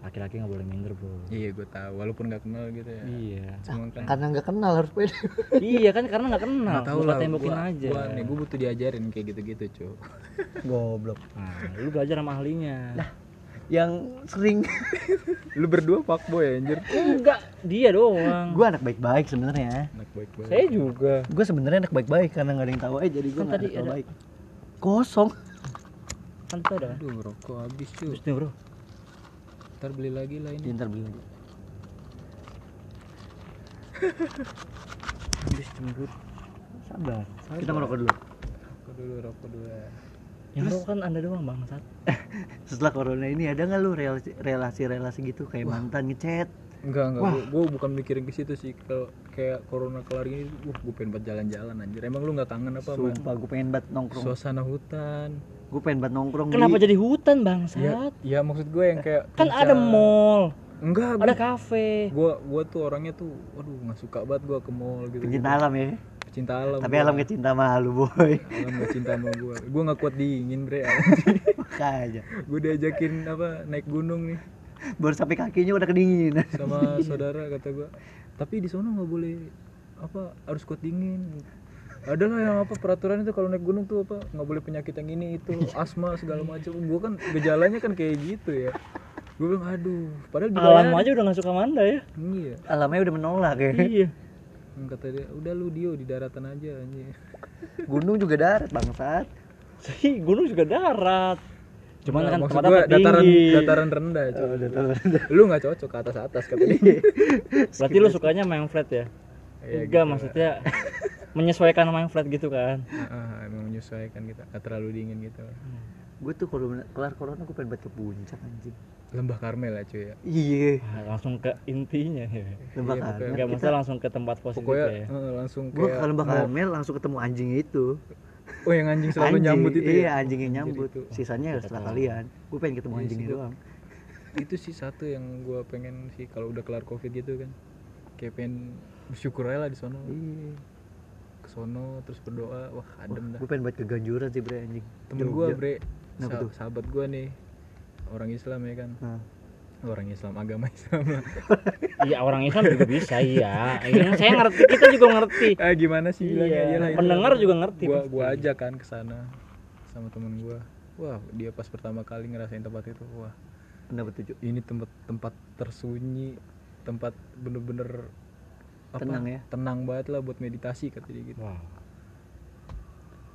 [SPEAKER 3] Laki-laki nggak boleh minder bro.
[SPEAKER 1] iya gue tahu walaupun nggak kenal gitu ya
[SPEAKER 3] Iya.
[SPEAKER 1] cuman kan
[SPEAKER 2] karena nggak kenal harus pede
[SPEAKER 3] iya kan karena nggak kenal.
[SPEAKER 1] nggak tahu
[SPEAKER 3] Muka
[SPEAKER 1] lah
[SPEAKER 3] tembokin
[SPEAKER 1] gua,
[SPEAKER 3] aja.
[SPEAKER 1] gua nih gue butuh diajarin kayak gitu-gitu cuy
[SPEAKER 2] goblok
[SPEAKER 3] Nah, lu belajar sama ahlinya.
[SPEAKER 2] yang sering
[SPEAKER 1] lu berdua fuckboy anjir
[SPEAKER 3] Enggak, dia doang.
[SPEAKER 2] gue anak baik-baik sebenarnya
[SPEAKER 1] anak baik banget
[SPEAKER 3] Saya juga.
[SPEAKER 2] gue sebenarnya anak baik-baik karena nggak ada yang tahu aja jadi gue
[SPEAKER 3] Kan
[SPEAKER 2] nggak
[SPEAKER 3] tadi
[SPEAKER 2] ada
[SPEAKER 3] ada-
[SPEAKER 2] baik kosong
[SPEAKER 3] Kan tuh ada.
[SPEAKER 1] aduh rokok habis cuy
[SPEAKER 3] Terus nih bro.
[SPEAKER 1] ntar beli lagi lah ini
[SPEAKER 2] pinter beli lagi.
[SPEAKER 3] Habis cemberut.
[SPEAKER 2] sabar
[SPEAKER 1] Sabar.
[SPEAKER 2] kita ngerokok dulu
[SPEAKER 1] rokok dulu rokok dulu ya.
[SPEAKER 3] Yang bro kan anda doang bangsat.
[SPEAKER 2] setelah corona ini ada nggak lu relasi- relasi-relasi gitu kayak mantan ngechat
[SPEAKER 1] enggak enggak gua, gua bukan mikirin ke situ sih kalau kayak corona kelar gini wah gue pengen buat jalan-jalan anjir emang lu nggak kangen apa sama
[SPEAKER 2] sumpah gue pengen banget nongkrong
[SPEAKER 1] suasana hutan
[SPEAKER 2] gue pengen banget nongkrong
[SPEAKER 3] Kenapa
[SPEAKER 2] di-
[SPEAKER 3] jadi hutan
[SPEAKER 1] ya,
[SPEAKER 3] bangsat?
[SPEAKER 1] ya maksud gue yang kayak
[SPEAKER 3] Kan
[SPEAKER 1] bisa-
[SPEAKER 3] ada mall,
[SPEAKER 1] enggak
[SPEAKER 3] ada kafe.
[SPEAKER 1] gue gue tuh orangnya tuh waduh nggak suka banget gue ke mall gitu
[SPEAKER 2] pencinta alam ya
[SPEAKER 1] cinta alam
[SPEAKER 2] tapi
[SPEAKER 1] gua.
[SPEAKER 2] alam gak cinta sama lu boy
[SPEAKER 1] alam gak cinta sama gue gue nggak kuat dingin bre
[SPEAKER 2] makanya
[SPEAKER 1] gue diajakin apa naik gunung nih
[SPEAKER 2] baru sampai kakinya udah kedinginan
[SPEAKER 1] sama saudara kata gue tapi di sono nggak boleh apa harus kuat dingin adalah yang apa peraturan itu kalau naik gunung tuh apa nggak boleh penyakit yang ini itu asma segala macam gue kan gejalanya kan kayak gitu ya gue bilang aduh padahal
[SPEAKER 3] Alam
[SPEAKER 1] dibayarin
[SPEAKER 3] aja udah nggak suka sama anda ya.
[SPEAKER 1] iya
[SPEAKER 2] alamnya udah menolak ya
[SPEAKER 3] Iya.
[SPEAKER 1] Hmm, kata dia udah lu dio di daratan aja anjir
[SPEAKER 2] gunung juga darat bangsat
[SPEAKER 3] Sih, gunung juga darat. Cuman
[SPEAKER 1] Nah,
[SPEAKER 3] kan
[SPEAKER 1] maksud
[SPEAKER 3] tempatnya
[SPEAKER 1] gua dataran
[SPEAKER 3] tinggi.
[SPEAKER 1] dataran rendah cuy.
[SPEAKER 2] Oh, udah tahu.
[SPEAKER 1] lu nggak cocok ke atas atas kata dia
[SPEAKER 3] Berarti lu sukanya main flat ya?
[SPEAKER 1] Iya,
[SPEAKER 3] Enggak,
[SPEAKER 1] gitu.
[SPEAKER 3] maksudnya menyesuaikan sama yang flat gitu kan.
[SPEAKER 1] Ah, emang menyesuaikan kita nggak terlalu dingin gitu
[SPEAKER 2] gue tuh kalau bener- kelar corona gue pengen banget ke puncak anjing
[SPEAKER 1] lembah karmel ya cuy ya
[SPEAKER 2] iya
[SPEAKER 3] Nah, langsung ke intinya ya.
[SPEAKER 2] lembah
[SPEAKER 1] Iya,
[SPEAKER 2] Karmel
[SPEAKER 3] Enggak
[SPEAKER 2] kita
[SPEAKER 3] maksudnya langsung ke tempat positif
[SPEAKER 1] pokoknya
[SPEAKER 3] ya.
[SPEAKER 1] eh, langsung
[SPEAKER 2] gue
[SPEAKER 1] kayak
[SPEAKER 2] ke lembah
[SPEAKER 1] mau-
[SPEAKER 2] Karmel langsung ketemu anjing itu
[SPEAKER 1] oh yang anjing selalu nyambut itu
[SPEAKER 2] iya
[SPEAKER 1] ya
[SPEAKER 2] anjing yang
[SPEAKER 1] Anjir
[SPEAKER 2] nyambut
[SPEAKER 1] itu.
[SPEAKER 2] sisanya ya setelah kalian gue pengen ketemu
[SPEAKER 1] Iya
[SPEAKER 2] anjingnya
[SPEAKER 1] sih, gua-
[SPEAKER 2] doang
[SPEAKER 1] itu sih satu yang gua pengen sih kalau udah kelar covid gitu kan kayak pengen bersyukur aja lah di sono
[SPEAKER 2] iya
[SPEAKER 1] ke sono terus berdoa wah adem dah
[SPEAKER 2] gue pengen buat keganjuran sih bre anjing
[SPEAKER 1] temen
[SPEAKER 2] Jogja.
[SPEAKER 1] gua bre
[SPEAKER 2] Kenapa
[SPEAKER 1] sah-
[SPEAKER 2] tuh?
[SPEAKER 1] sahabat gua nih orang Islam ya kan
[SPEAKER 2] Nah,
[SPEAKER 1] orang Islam agama Islam lah.
[SPEAKER 3] Iya, orang Islam juga bisa iya. Iya, saya ngerti, kita juga ngerti.
[SPEAKER 1] ah gimana sih bilangnya
[SPEAKER 3] Iya,
[SPEAKER 1] Iyalah, itu
[SPEAKER 3] pendengar
[SPEAKER 1] lah.
[SPEAKER 3] juga ngerti
[SPEAKER 1] gua
[SPEAKER 3] pasti.
[SPEAKER 1] gua ajak kan ke sana sama temen gua wah dia pas pertama kali ngerasain tempat itu wah
[SPEAKER 2] pendapat tujuh
[SPEAKER 1] ini tempat tempat tersunyi tempat bener-bener
[SPEAKER 2] Tenang ya?
[SPEAKER 1] tenang banget lah buat meditasi kata dia gitu
[SPEAKER 3] Wah.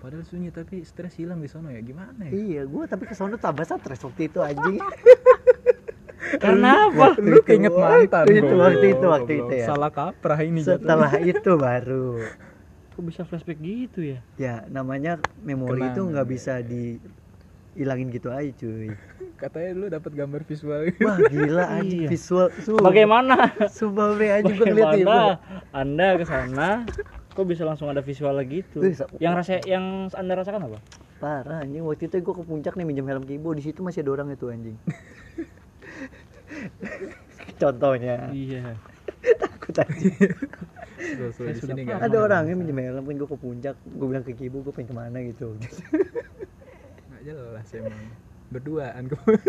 [SPEAKER 1] padahal sunyi tapi stres hilang di sono ya gimana ya
[SPEAKER 2] Iya, gue tapi kesana tambah stres waktu itu anjing.
[SPEAKER 3] Kenapa?
[SPEAKER 2] Waktu
[SPEAKER 1] lu
[SPEAKER 2] itu,
[SPEAKER 1] keinget mantan
[SPEAKER 2] waktu itu,
[SPEAKER 1] goblok,
[SPEAKER 2] waktu itu, waktu
[SPEAKER 1] goblok.
[SPEAKER 2] itu ya.
[SPEAKER 1] salah kaprah ini jatuh
[SPEAKER 2] Setelah itu baru,
[SPEAKER 3] Kok bisa flashback gitu ya?
[SPEAKER 2] ya namanya memori itu
[SPEAKER 1] Kenangan,
[SPEAKER 2] nggak
[SPEAKER 1] iya,
[SPEAKER 2] bisa di hilangin gitu aja cuy.
[SPEAKER 1] katanya lu dapat gambar visual
[SPEAKER 2] Wah gila anjing
[SPEAKER 3] Iya.
[SPEAKER 2] visual. Sumpah.
[SPEAKER 3] Bagaimana?
[SPEAKER 2] Sumpah bre anjing gue ngeliat itu.
[SPEAKER 3] Bagaimana Anda ke sana kok bisa langsung ada visual gitu?
[SPEAKER 2] Wih, sa-
[SPEAKER 3] Yang rasa yang Anda rasakan apa?
[SPEAKER 2] Parah anjing waktu itu gue ke puncak nih minjem helm kibo di situ masih ada orang itu anjing. Contohnya
[SPEAKER 3] Iya.
[SPEAKER 2] aku tadi
[SPEAKER 1] Tuh, tuh, di sini nggak
[SPEAKER 2] ada orang yang minjem helm kan gue ke puncak gue bilang ke kibo gue pengen kemana gitu.
[SPEAKER 1] nggak jelas emang berduaan kok
[SPEAKER 2] Iya.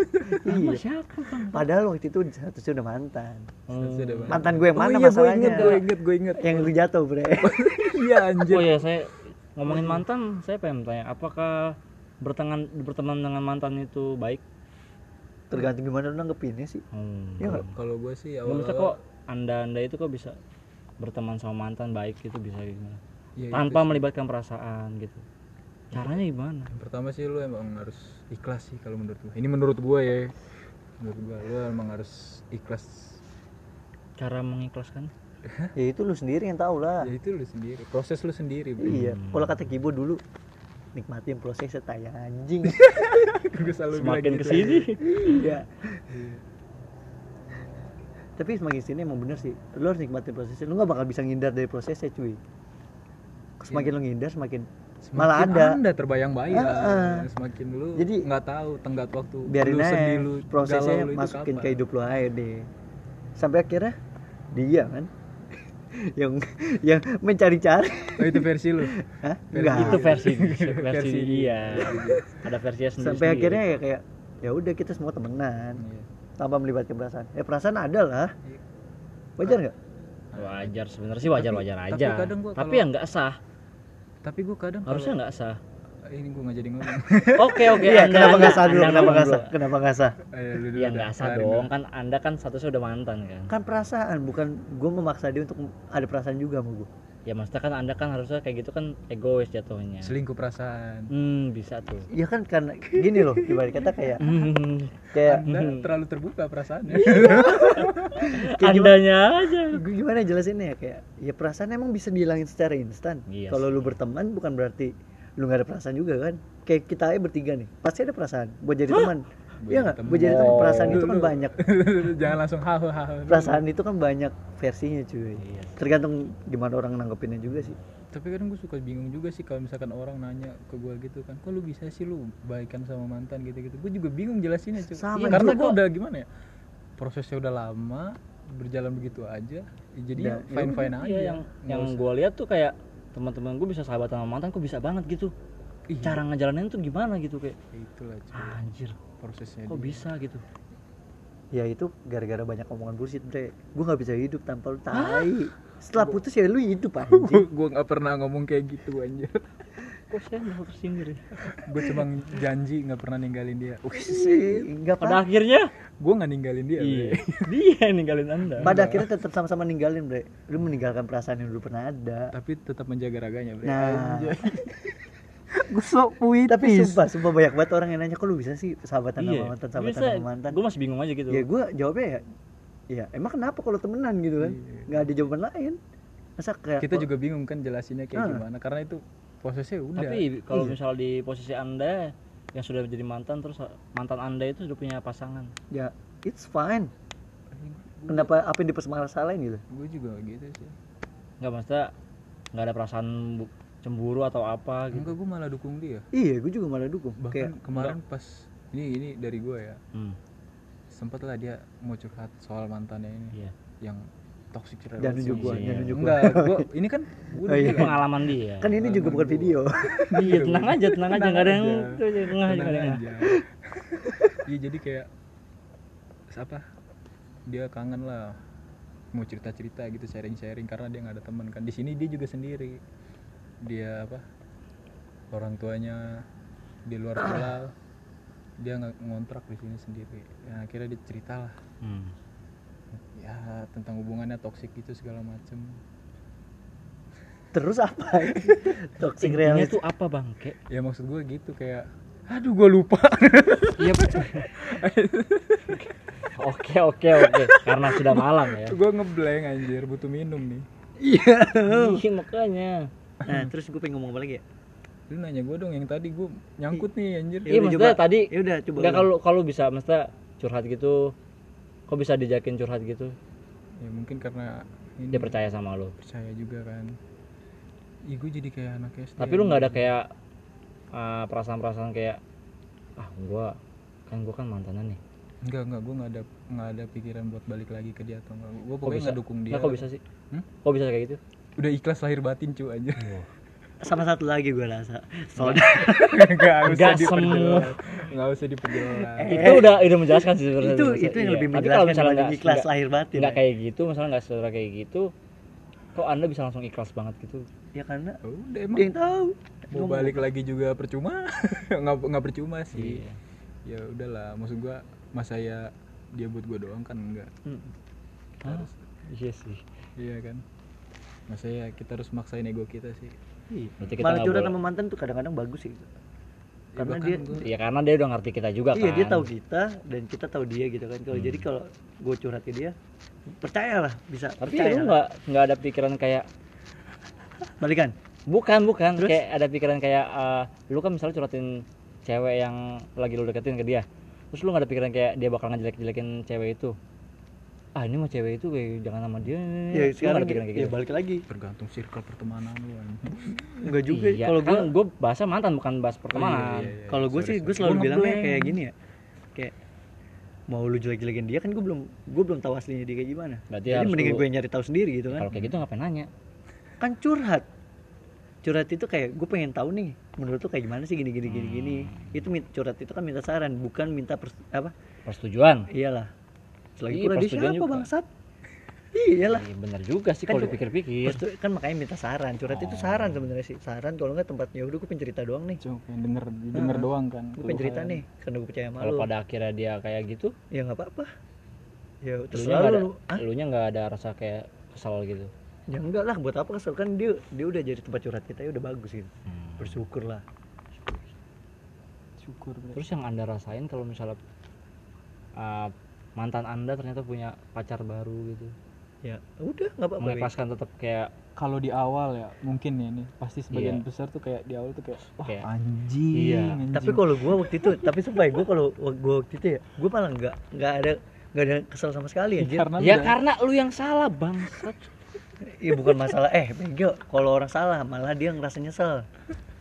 [SPEAKER 3] Sama siapa, Bang?
[SPEAKER 2] Padahal wakti itu statusnya udah mantan.
[SPEAKER 1] Sudah banget.
[SPEAKER 2] Mantan gue yang mana
[SPEAKER 1] oh, iya, gue
[SPEAKER 2] masalahnya?
[SPEAKER 1] inget gue inget gue inget
[SPEAKER 2] Yang lu jatuh, Bre.
[SPEAKER 1] iya anjir
[SPEAKER 3] Oh ya saya ngomongin mantan, saya pengen tanya, apakah berteman berteman dengan mantan itu baik?
[SPEAKER 2] Tergantung gimana lu nanggepinnya sih.
[SPEAKER 3] Hmm.
[SPEAKER 2] Ya nggak?
[SPEAKER 1] kalau gue sih awal
[SPEAKER 3] Maksudnya kok anda anda itu kok bisa berteman sama mantan baik gitu bisa gimana?
[SPEAKER 1] Ya,
[SPEAKER 2] Iya,
[SPEAKER 3] Tanpa melibatkan perasaan gitu. Caranya gimana?
[SPEAKER 1] yang pertama sih lu emang harus ikhlas sih kalau menurut gue ini menurut gue ya menurut gue lu emang harus ikhlas
[SPEAKER 3] Cara mengikhlaskan?
[SPEAKER 2] Ya itu lu sendiri yang tahu lah.
[SPEAKER 1] ya itu lu sendiri proses lu sendiri bro
[SPEAKER 2] Iya, kalau kata Kibo dulu nikmatin prosesnya tayang anjing.
[SPEAKER 1] gue selalu bilang
[SPEAKER 3] Semakin
[SPEAKER 1] gitu.
[SPEAKER 3] kesini,
[SPEAKER 2] iya. Tapi semakin sini emang bener sih. Lu harus nikmatin prosesnya. Lu nggak bakal bisa ngindar dari prosesnya, cuy. Semakin lu ngindar, semakin
[SPEAKER 1] Iya. Semakin
[SPEAKER 2] Malah ada.
[SPEAKER 1] Anda terbayang-bayang.
[SPEAKER 2] Heeh.
[SPEAKER 1] Semakin lu
[SPEAKER 2] Jadi-
[SPEAKER 1] nggak tahu tenggat waktu.
[SPEAKER 2] biarin
[SPEAKER 1] lu
[SPEAKER 2] aja
[SPEAKER 1] sedih, lu galau,
[SPEAKER 2] prosesnya
[SPEAKER 1] lu itu
[SPEAKER 2] masukin
[SPEAKER 1] kapan.
[SPEAKER 2] ke hidup lu aja deh sampai akhirnya dia kan yang yang mencari-cari
[SPEAKER 1] Oh, itu versi lu.
[SPEAKER 2] Hah?
[SPEAKER 1] Versi
[SPEAKER 2] Enggak.
[SPEAKER 3] itu versi versi,
[SPEAKER 1] Versi
[SPEAKER 3] dia ada versinya sendiri
[SPEAKER 2] iya. sampai akhirnya ya kayak ya udah kita semua temenan
[SPEAKER 1] Iya.
[SPEAKER 2] tanpa melibatkan perasaan ya perasaan ada lah wajar nggak
[SPEAKER 3] wajar sebenarnya sih wajar wajar
[SPEAKER 1] Tapi-
[SPEAKER 3] aja
[SPEAKER 1] tapi kadang gua
[SPEAKER 3] tapi
[SPEAKER 1] kalau-
[SPEAKER 3] yang nggak sah
[SPEAKER 1] Tapi gue kadang
[SPEAKER 3] harusnya nggak sah
[SPEAKER 1] kalau- Eh, ini gue nggak jadi ngomong.
[SPEAKER 3] oke oke
[SPEAKER 2] iya
[SPEAKER 3] Anda-
[SPEAKER 2] kenapa nggak
[SPEAKER 3] Anda-
[SPEAKER 2] sah dulu
[SPEAKER 3] Anda
[SPEAKER 2] kenapa
[SPEAKER 3] ngomong
[SPEAKER 2] nggak sah
[SPEAKER 3] dulu.
[SPEAKER 2] kenapa nggak sah
[SPEAKER 1] Ayo, lu dulu
[SPEAKER 3] ya
[SPEAKER 1] dah,
[SPEAKER 3] nggak sah
[SPEAKER 1] kelarin
[SPEAKER 3] dong kan anda kan statusnya udah mantan kan
[SPEAKER 2] kan perasaan bukan gue memaksa dia untuk ada perasaan juga sama gue
[SPEAKER 3] ya maksudnya kan anda kan harusnya kayak gitu kan egois jatuhnya
[SPEAKER 1] dulu. Selingkuh perasaan.
[SPEAKER 3] hmm bisa tuh
[SPEAKER 2] ya kan karena gini loh ibarat kata kayak
[SPEAKER 3] Hmm,
[SPEAKER 2] kayak
[SPEAKER 1] Anda terlalu terbuka perasaannya.
[SPEAKER 2] Kayak gimana?
[SPEAKER 3] andanya aja
[SPEAKER 2] Gue gimana jelasinnya ya kayak ya perasaan emang bisa dihilangin secara instan.
[SPEAKER 3] Iya
[SPEAKER 2] Kalau
[SPEAKER 3] sih.
[SPEAKER 2] lu berteman bukan berarti lu nggak ada perasaan juga kan? Kayak kita aja bertiga nih, pasti ada perasaan buat jadi teman.
[SPEAKER 1] Buat
[SPEAKER 2] Iya
[SPEAKER 1] jadi
[SPEAKER 2] nggak?
[SPEAKER 1] teman.
[SPEAKER 2] Buat jadi teman
[SPEAKER 3] Oh.
[SPEAKER 2] perasaan itu kan
[SPEAKER 1] Dulu.
[SPEAKER 2] banyak.
[SPEAKER 1] Jangan langsung hahe hahe. dulu.
[SPEAKER 2] Perasaan itu kan banyak versinya cuy.
[SPEAKER 3] Iya.
[SPEAKER 2] Tergantung gimana orang nanggepinnya juga sih.
[SPEAKER 1] Tapi kadang gue suka bingung juga sih kalau misalkan orang nanya ke gue gitu kan, kok lu bisa sih lu baikan sama mantan gitu-gitu. Gue juga bingung jelasinnya cuy.
[SPEAKER 2] Sama,
[SPEAKER 1] Iya, karena
[SPEAKER 2] cuy.
[SPEAKER 1] gue udah gimana ya? Prosesnya udah lama, berjalan begitu aja. ya jadinya
[SPEAKER 2] Udah,
[SPEAKER 1] fine fine aja.
[SPEAKER 3] Iya, yang
[SPEAKER 1] Nggak
[SPEAKER 3] yang
[SPEAKER 1] usah-
[SPEAKER 3] gue lihat tuh kayak teman-teman gue bisa sahabatan sama mantan gue bisa banget gitu
[SPEAKER 1] Iya.
[SPEAKER 3] cara ngejalanin tuh gimana gitu kayak "Ah,
[SPEAKER 1] itulah cuy
[SPEAKER 3] anjir
[SPEAKER 1] prosesnya.
[SPEAKER 3] kok
[SPEAKER 1] dia.
[SPEAKER 3] bisa gitu
[SPEAKER 2] Ya itu gara-gara banyak omongan bullshit bre. Gue nggak bisa hidup tanpa lu tai. Setelah putus ya lu hidup anjing.
[SPEAKER 1] gue nggak pernah ngomong kayak gitu anjir.
[SPEAKER 3] kok saya nggak tersindir ya?
[SPEAKER 1] gue cuma janji nggak pernah ninggalin dia.
[SPEAKER 2] Iya, Enggak
[SPEAKER 3] pada akhirnya
[SPEAKER 1] Gue nggak ninggalin dia.
[SPEAKER 3] iya
[SPEAKER 1] bre.
[SPEAKER 3] dia yang ninggalin anda
[SPEAKER 2] Pada akhirnya tetap sama-sama ninggalin bre. Lu meninggalkan perasaan yang dulu pernah ada.
[SPEAKER 1] Tapi tetap menjaga raganya. Bre.
[SPEAKER 2] Nah.
[SPEAKER 1] Anjay.
[SPEAKER 2] Gue sok puitis. Tapi sumpah, sumpah banyak banget orang yang nanya, kok lu bisa sih sahabatan
[SPEAKER 1] Iya.
[SPEAKER 2] sama mantan, sahabatan sama mantan?
[SPEAKER 3] gue masih bingung aja gitu
[SPEAKER 2] Ya gue jawabnya ya, ya emang kenapa kalau temenan gitu kan?
[SPEAKER 1] Iya.
[SPEAKER 2] Nggak ada jawaban lain. Masa kayak
[SPEAKER 1] kita
[SPEAKER 2] kok-
[SPEAKER 1] juga bingung kan jelasinnya kayak
[SPEAKER 2] Ah.
[SPEAKER 1] gimana karena itu prosesnya udah
[SPEAKER 3] tapi kalau
[SPEAKER 2] Iya.
[SPEAKER 3] misal di posisi anda yang sudah menjadi mantan terus mantan anda itu sudah punya pasangan
[SPEAKER 2] ya it's fine. Kenapa apa yang dipermasalahin gitu?
[SPEAKER 1] gue juga gitu sih
[SPEAKER 3] nggak maksudnya nggak ada perasaan bu- cemburu atau apa gitu
[SPEAKER 1] enggak gue malah dukung dia
[SPEAKER 2] Iya, gue juga malah dukung.
[SPEAKER 1] bahkan
[SPEAKER 2] Kayak
[SPEAKER 1] kemarin pas ini ini dari gue ya
[SPEAKER 3] hmm,
[SPEAKER 1] sempet lah dia mau curhat soal mantannya ini
[SPEAKER 3] iya.
[SPEAKER 1] yang toxic
[SPEAKER 2] jangan nunjuk gue,
[SPEAKER 3] Iya.
[SPEAKER 2] jangan nunjuk gue.
[SPEAKER 1] enggak gue ini kan gue
[SPEAKER 2] Oh,
[SPEAKER 1] udah
[SPEAKER 2] iya.
[SPEAKER 3] Ini
[SPEAKER 1] bilang,
[SPEAKER 3] pengalaman dia
[SPEAKER 2] Kan ini juga bukan video.
[SPEAKER 3] Iya tenang aja, tenang aja,
[SPEAKER 1] Tenang
[SPEAKER 3] nggak ada yang
[SPEAKER 1] aja.
[SPEAKER 3] itu aja, nggak ada
[SPEAKER 1] tenang
[SPEAKER 3] yang-
[SPEAKER 1] aja iya jadi kayak apa dia kangen lah mau cerita cerita gitu sharing sharing karena dia nggak ada teman kan di sini dia juga sendiri dia apa orang tuanya di luar pulau dia nggak ngontrak di sini sendiri nah, akhirnya dia cerita lah
[SPEAKER 3] Hmm.
[SPEAKER 1] ya tentang hubungannya toksik gitu segala macem
[SPEAKER 2] Terus apa? Toxic
[SPEAKER 3] Intinya
[SPEAKER 2] reality.
[SPEAKER 3] tuh apa bang? Kayak
[SPEAKER 1] ya maksud gue gitu kayak aduh gue lupa
[SPEAKER 3] iya Oke oke oke, karena sudah malam ya.
[SPEAKER 1] gue ngeblank anjir butuh minum nih
[SPEAKER 3] Iya makanya.
[SPEAKER 2] Nah, terus gue pengen ngomong apa lagi ya?
[SPEAKER 1] lu nanya gue dong yang tadi gue nyangkut nih anjir
[SPEAKER 2] Ya
[SPEAKER 3] Iya
[SPEAKER 2] udah,
[SPEAKER 3] maksudnya
[SPEAKER 2] coba.
[SPEAKER 3] tadi,
[SPEAKER 2] Ya udah coba.
[SPEAKER 3] nggak
[SPEAKER 2] ulang.
[SPEAKER 3] kalau kalau bisa maksudnya curhat gitu, kok bisa dijakin curhat gitu?
[SPEAKER 1] ya mungkin karena ini
[SPEAKER 3] Dia percaya sama lo.
[SPEAKER 1] percaya juga kan Ih gue jadi kayak anak SD
[SPEAKER 3] Tapi lu nggak
[SPEAKER 2] Hmm.
[SPEAKER 3] ada kayak eh, perasaan-perasaan kayak ah gua kan gua kan mantanan nih.
[SPEAKER 1] Enggak enggak gue nggak ada nggak ada pikiran buat balik lagi ke dia atau enggak Gue
[SPEAKER 3] Kok
[SPEAKER 1] pokoknya
[SPEAKER 3] bisa?
[SPEAKER 1] nggak dukung dia
[SPEAKER 3] Nggak, kok bisa sih?
[SPEAKER 1] Hmm?
[SPEAKER 3] Kok bisa kayak gitu?
[SPEAKER 1] Udah ikhlas lahir batin cu aja
[SPEAKER 2] sama satu lagi gue rasa. Soalnya
[SPEAKER 1] Enggak usah
[SPEAKER 3] Nggak Eh.
[SPEAKER 1] diperjelas Enggak usah diperjelas
[SPEAKER 3] itu udah udah menjelaskan sih sebenarnya.
[SPEAKER 2] itu itu yang
[SPEAKER 3] Iya.
[SPEAKER 2] lebih
[SPEAKER 3] Tapi kalau
[SPEAKER 2] menjelaskan
[SPEAKER 3] misalnya
[SPEAKER 2] dibanding
[SPEAKER 3] nggak-
[SPEAKER 2] ikhlas
[SPEAKER 3] nggak-
[SPEAKER 2] lahir batin.
[SPEAKER 3] nggak
[SPEAKER 2] ya.
[SPEAKER 3] kayak gitu misalnya nggak secara kayak gitu kok anda bisa langsung ikhlas banget gitu
[SPEAKER 2] Ya karena
[SPEAKER 1] Ya Udah emang
[SPEAKER 2] dia yang tahu.
[SPEAKER 1] mau balik lagi juga percuma nggak nggak percuma sih
[SPEAKER 3] Iya.
[SPEAKER 1] ya udahlah maksud gue masa ya dia buat gue doang kan enggak
[SPEAKER 2] "Hmm,
[SPEAKER 3] harus iya sih
[SPEAKER 1] iya kan masa ya kita harus maksain ego kita sih
[SPEAKER 3] Berarti kita
[SPEAKER 2] Malah
[SPEAKER 3] nggak
[SPEAKER 2] curhat
[SPEAKER 3] boleh.
[SPEAKER 2] sama mantan tuh kadang-kadang bagus sih. gitu.
[SPEAKER 1] Ya,
[SPEAKER 2] Karena
[SPEAKER 1] bahkan
[SPEAKER 2] dia
[SPEAKER 1] gua-
[SPEAKER 3] ya karena dia udah ngerti kita juga
[SPEAKER 2] iya
[SPEAKER 3] kan
[SPEAKER 2] dia tahu kita dan kita tahu dia gitu kan. Kalau jadi kalau gue curhat ke dia percayalah bisa
[SPEAKER 3] tapi
[SPEAKER 2] percaya
[SPEAKER 3] lu nggak nggak ada pikiran kayak
[SPEAKER 2] balikan Ya,
[SPEAKER 3] bukan bukan
[SPEAKER 2] Terus?
[SPEAKER 3] kayak ada pikiran kayak eh, lu kan misalnya curhatin cewek yang lagi lu deketin ke dia terus lu nggak ada pikiran kayak dia bakal ngejelek-jelekin cewek itu ah ini mah cewek itu kayak jangan sama dia
[SPEAKER 2] ya sekarang
[SPEAKER 3] Lu nggak ada pikiran kayak
[SPEAKER 2] ya
[SPEAKER 3] gitu?
[SPEAKER 2] balik lagi
[SPEAKER 1] tergantung circle pertemanan lu anjing.
[SPEAKER 2] enggak juga ya.
[SPEAKER 3] Iya,
[SPEAKER 2] kalau
[SPEAKER 3] kan
[SPEAKER 2] gua Oh,
[SPEAKER 3] gue bahasa mantan bukan bahas pertemanan
[SPEAKER 1] iya, iya.
[SPEAKER 2] kalau gue
[SPEAKER 1] Sorry,
[SPEAKER 2] sih gue
[SPEAKER 1] sorry.
[SPEAKER 2] selalu
[SPEAKER 3] Gua
[SPEAKER 2] bilangnya
[SPEAKER 3] ngeblank.
[SPEAKER 2] kayak gini ya kayak mau lu jelek-jelekin dia kan gue belum gue belum tahu aslinya dia kayak gimana
[SPEAKER 3] Berarti
[SPEAKER 2] jadi
[SPEAKER 3] harus
[SPEAKER 2] mendingan
[SPEAKER 3] lu-
[SPEAKER 2] gue nyari tahu sendiri gitu
[SPEAKER 3] kalau
[SPEAKER 2] kan
[SPEAKER 3] kayak gitu ngapain nanya
[SPEAKER 2] kan curhat curhat itu kayak gue pengen tahu nih menurut lu kayak gimana sih gini gini
[SPEAKER 3] Hmm.
[SPEAKER 2] gini gini itu min- curhat itu kan minta saran bukan minta pers- apa
[SPEAKER 3] persetujuan
[SPEAKER 2] iyalah selagi
[SPEAKER 3] Iya,
[SPEAKER 2] kurang dia
[SPEAKER 3] persetujuan
[SPEAKER 2] siapa
[SPEAKER 3] juga.
[SPEAKER 2] bangsat iyalah
[SPEAKER 3] Iya, bener juga sih
[SPEAKER 2] Kan
[SPEAKER 3] kalau
[SPEAKER 2] cu-
[SPEAKER 3] dipikir-pikir
[SPEAKER 2] Terus tuh kan makanya minta saran curhat
[SPEAKER 3] Oh.
[SPEAKER 2] itu saran sebenarnya sih saran kalau nggak tempatnya udah gue pencerita doang nih
[SPEAKER 1] Cuma pengen denger denger
[SPEAKER 2] Heeh.
[SPEAKER 1] doang kan.
[SPEAKER 2] gue pencerita nih karena gue percaya sama
[SPEAKER 3] kalau
[SPEAKER 2] lu
[SPEAKER 3] pada akhirnya dia kayak gitu
[SPEAKER 2] ya nggak apa-apa ya terus
[SPEAKER 3] elunya nggak ada
[SPEAKER 2] lu ah
[SPEAKER 3] elunya nggak ada rasa kayak kesal gitu
[SPEAKER 2] ya enggak lah buat apa kesel kan dia dia udah jadi tempat curhat kita ya udah bagus gitu bersyukur lah
[SPEAKER 1] Syukur bre.
[SPEAKER 3] terus yang anda rasain kalau misalnya uh, mantan anda ternyata punya pacar baru gitu
[SPEAKER 2] ya udah nggak apa-apa Wi.
[SPEAKER 3] mengikhlaskan tetap kayak
[SPEAKER 1] Kalau di awal ya mungkin ya nih pasti sebagian
[SPEAKER 3] Iya.
[SPEAKER 1] besar tuh kayak di awal tuh kayak wah
[SPEAKER 3] Kayak-
[SPEAKER 1] anjing.
[SPEAKER 3] Iya.
[SPEAKER 1] anjing.
[SPEAKER 2] tapi kalau gue waktu itu tapi sumpah gue kalau gue waktu itu ya gue malah nggak nggak ada nggak ada kesel sama sekali anjir
[SPEAKER 1] karena
[SPEAKER 3] ya
[SPEAKER 1] udah-
[SPEAKER 3] karena lu yang salah bangsat
[SPEAKER 2] ya bukan masalah eh bego kalau orang salah malah dia ngerasa nyesel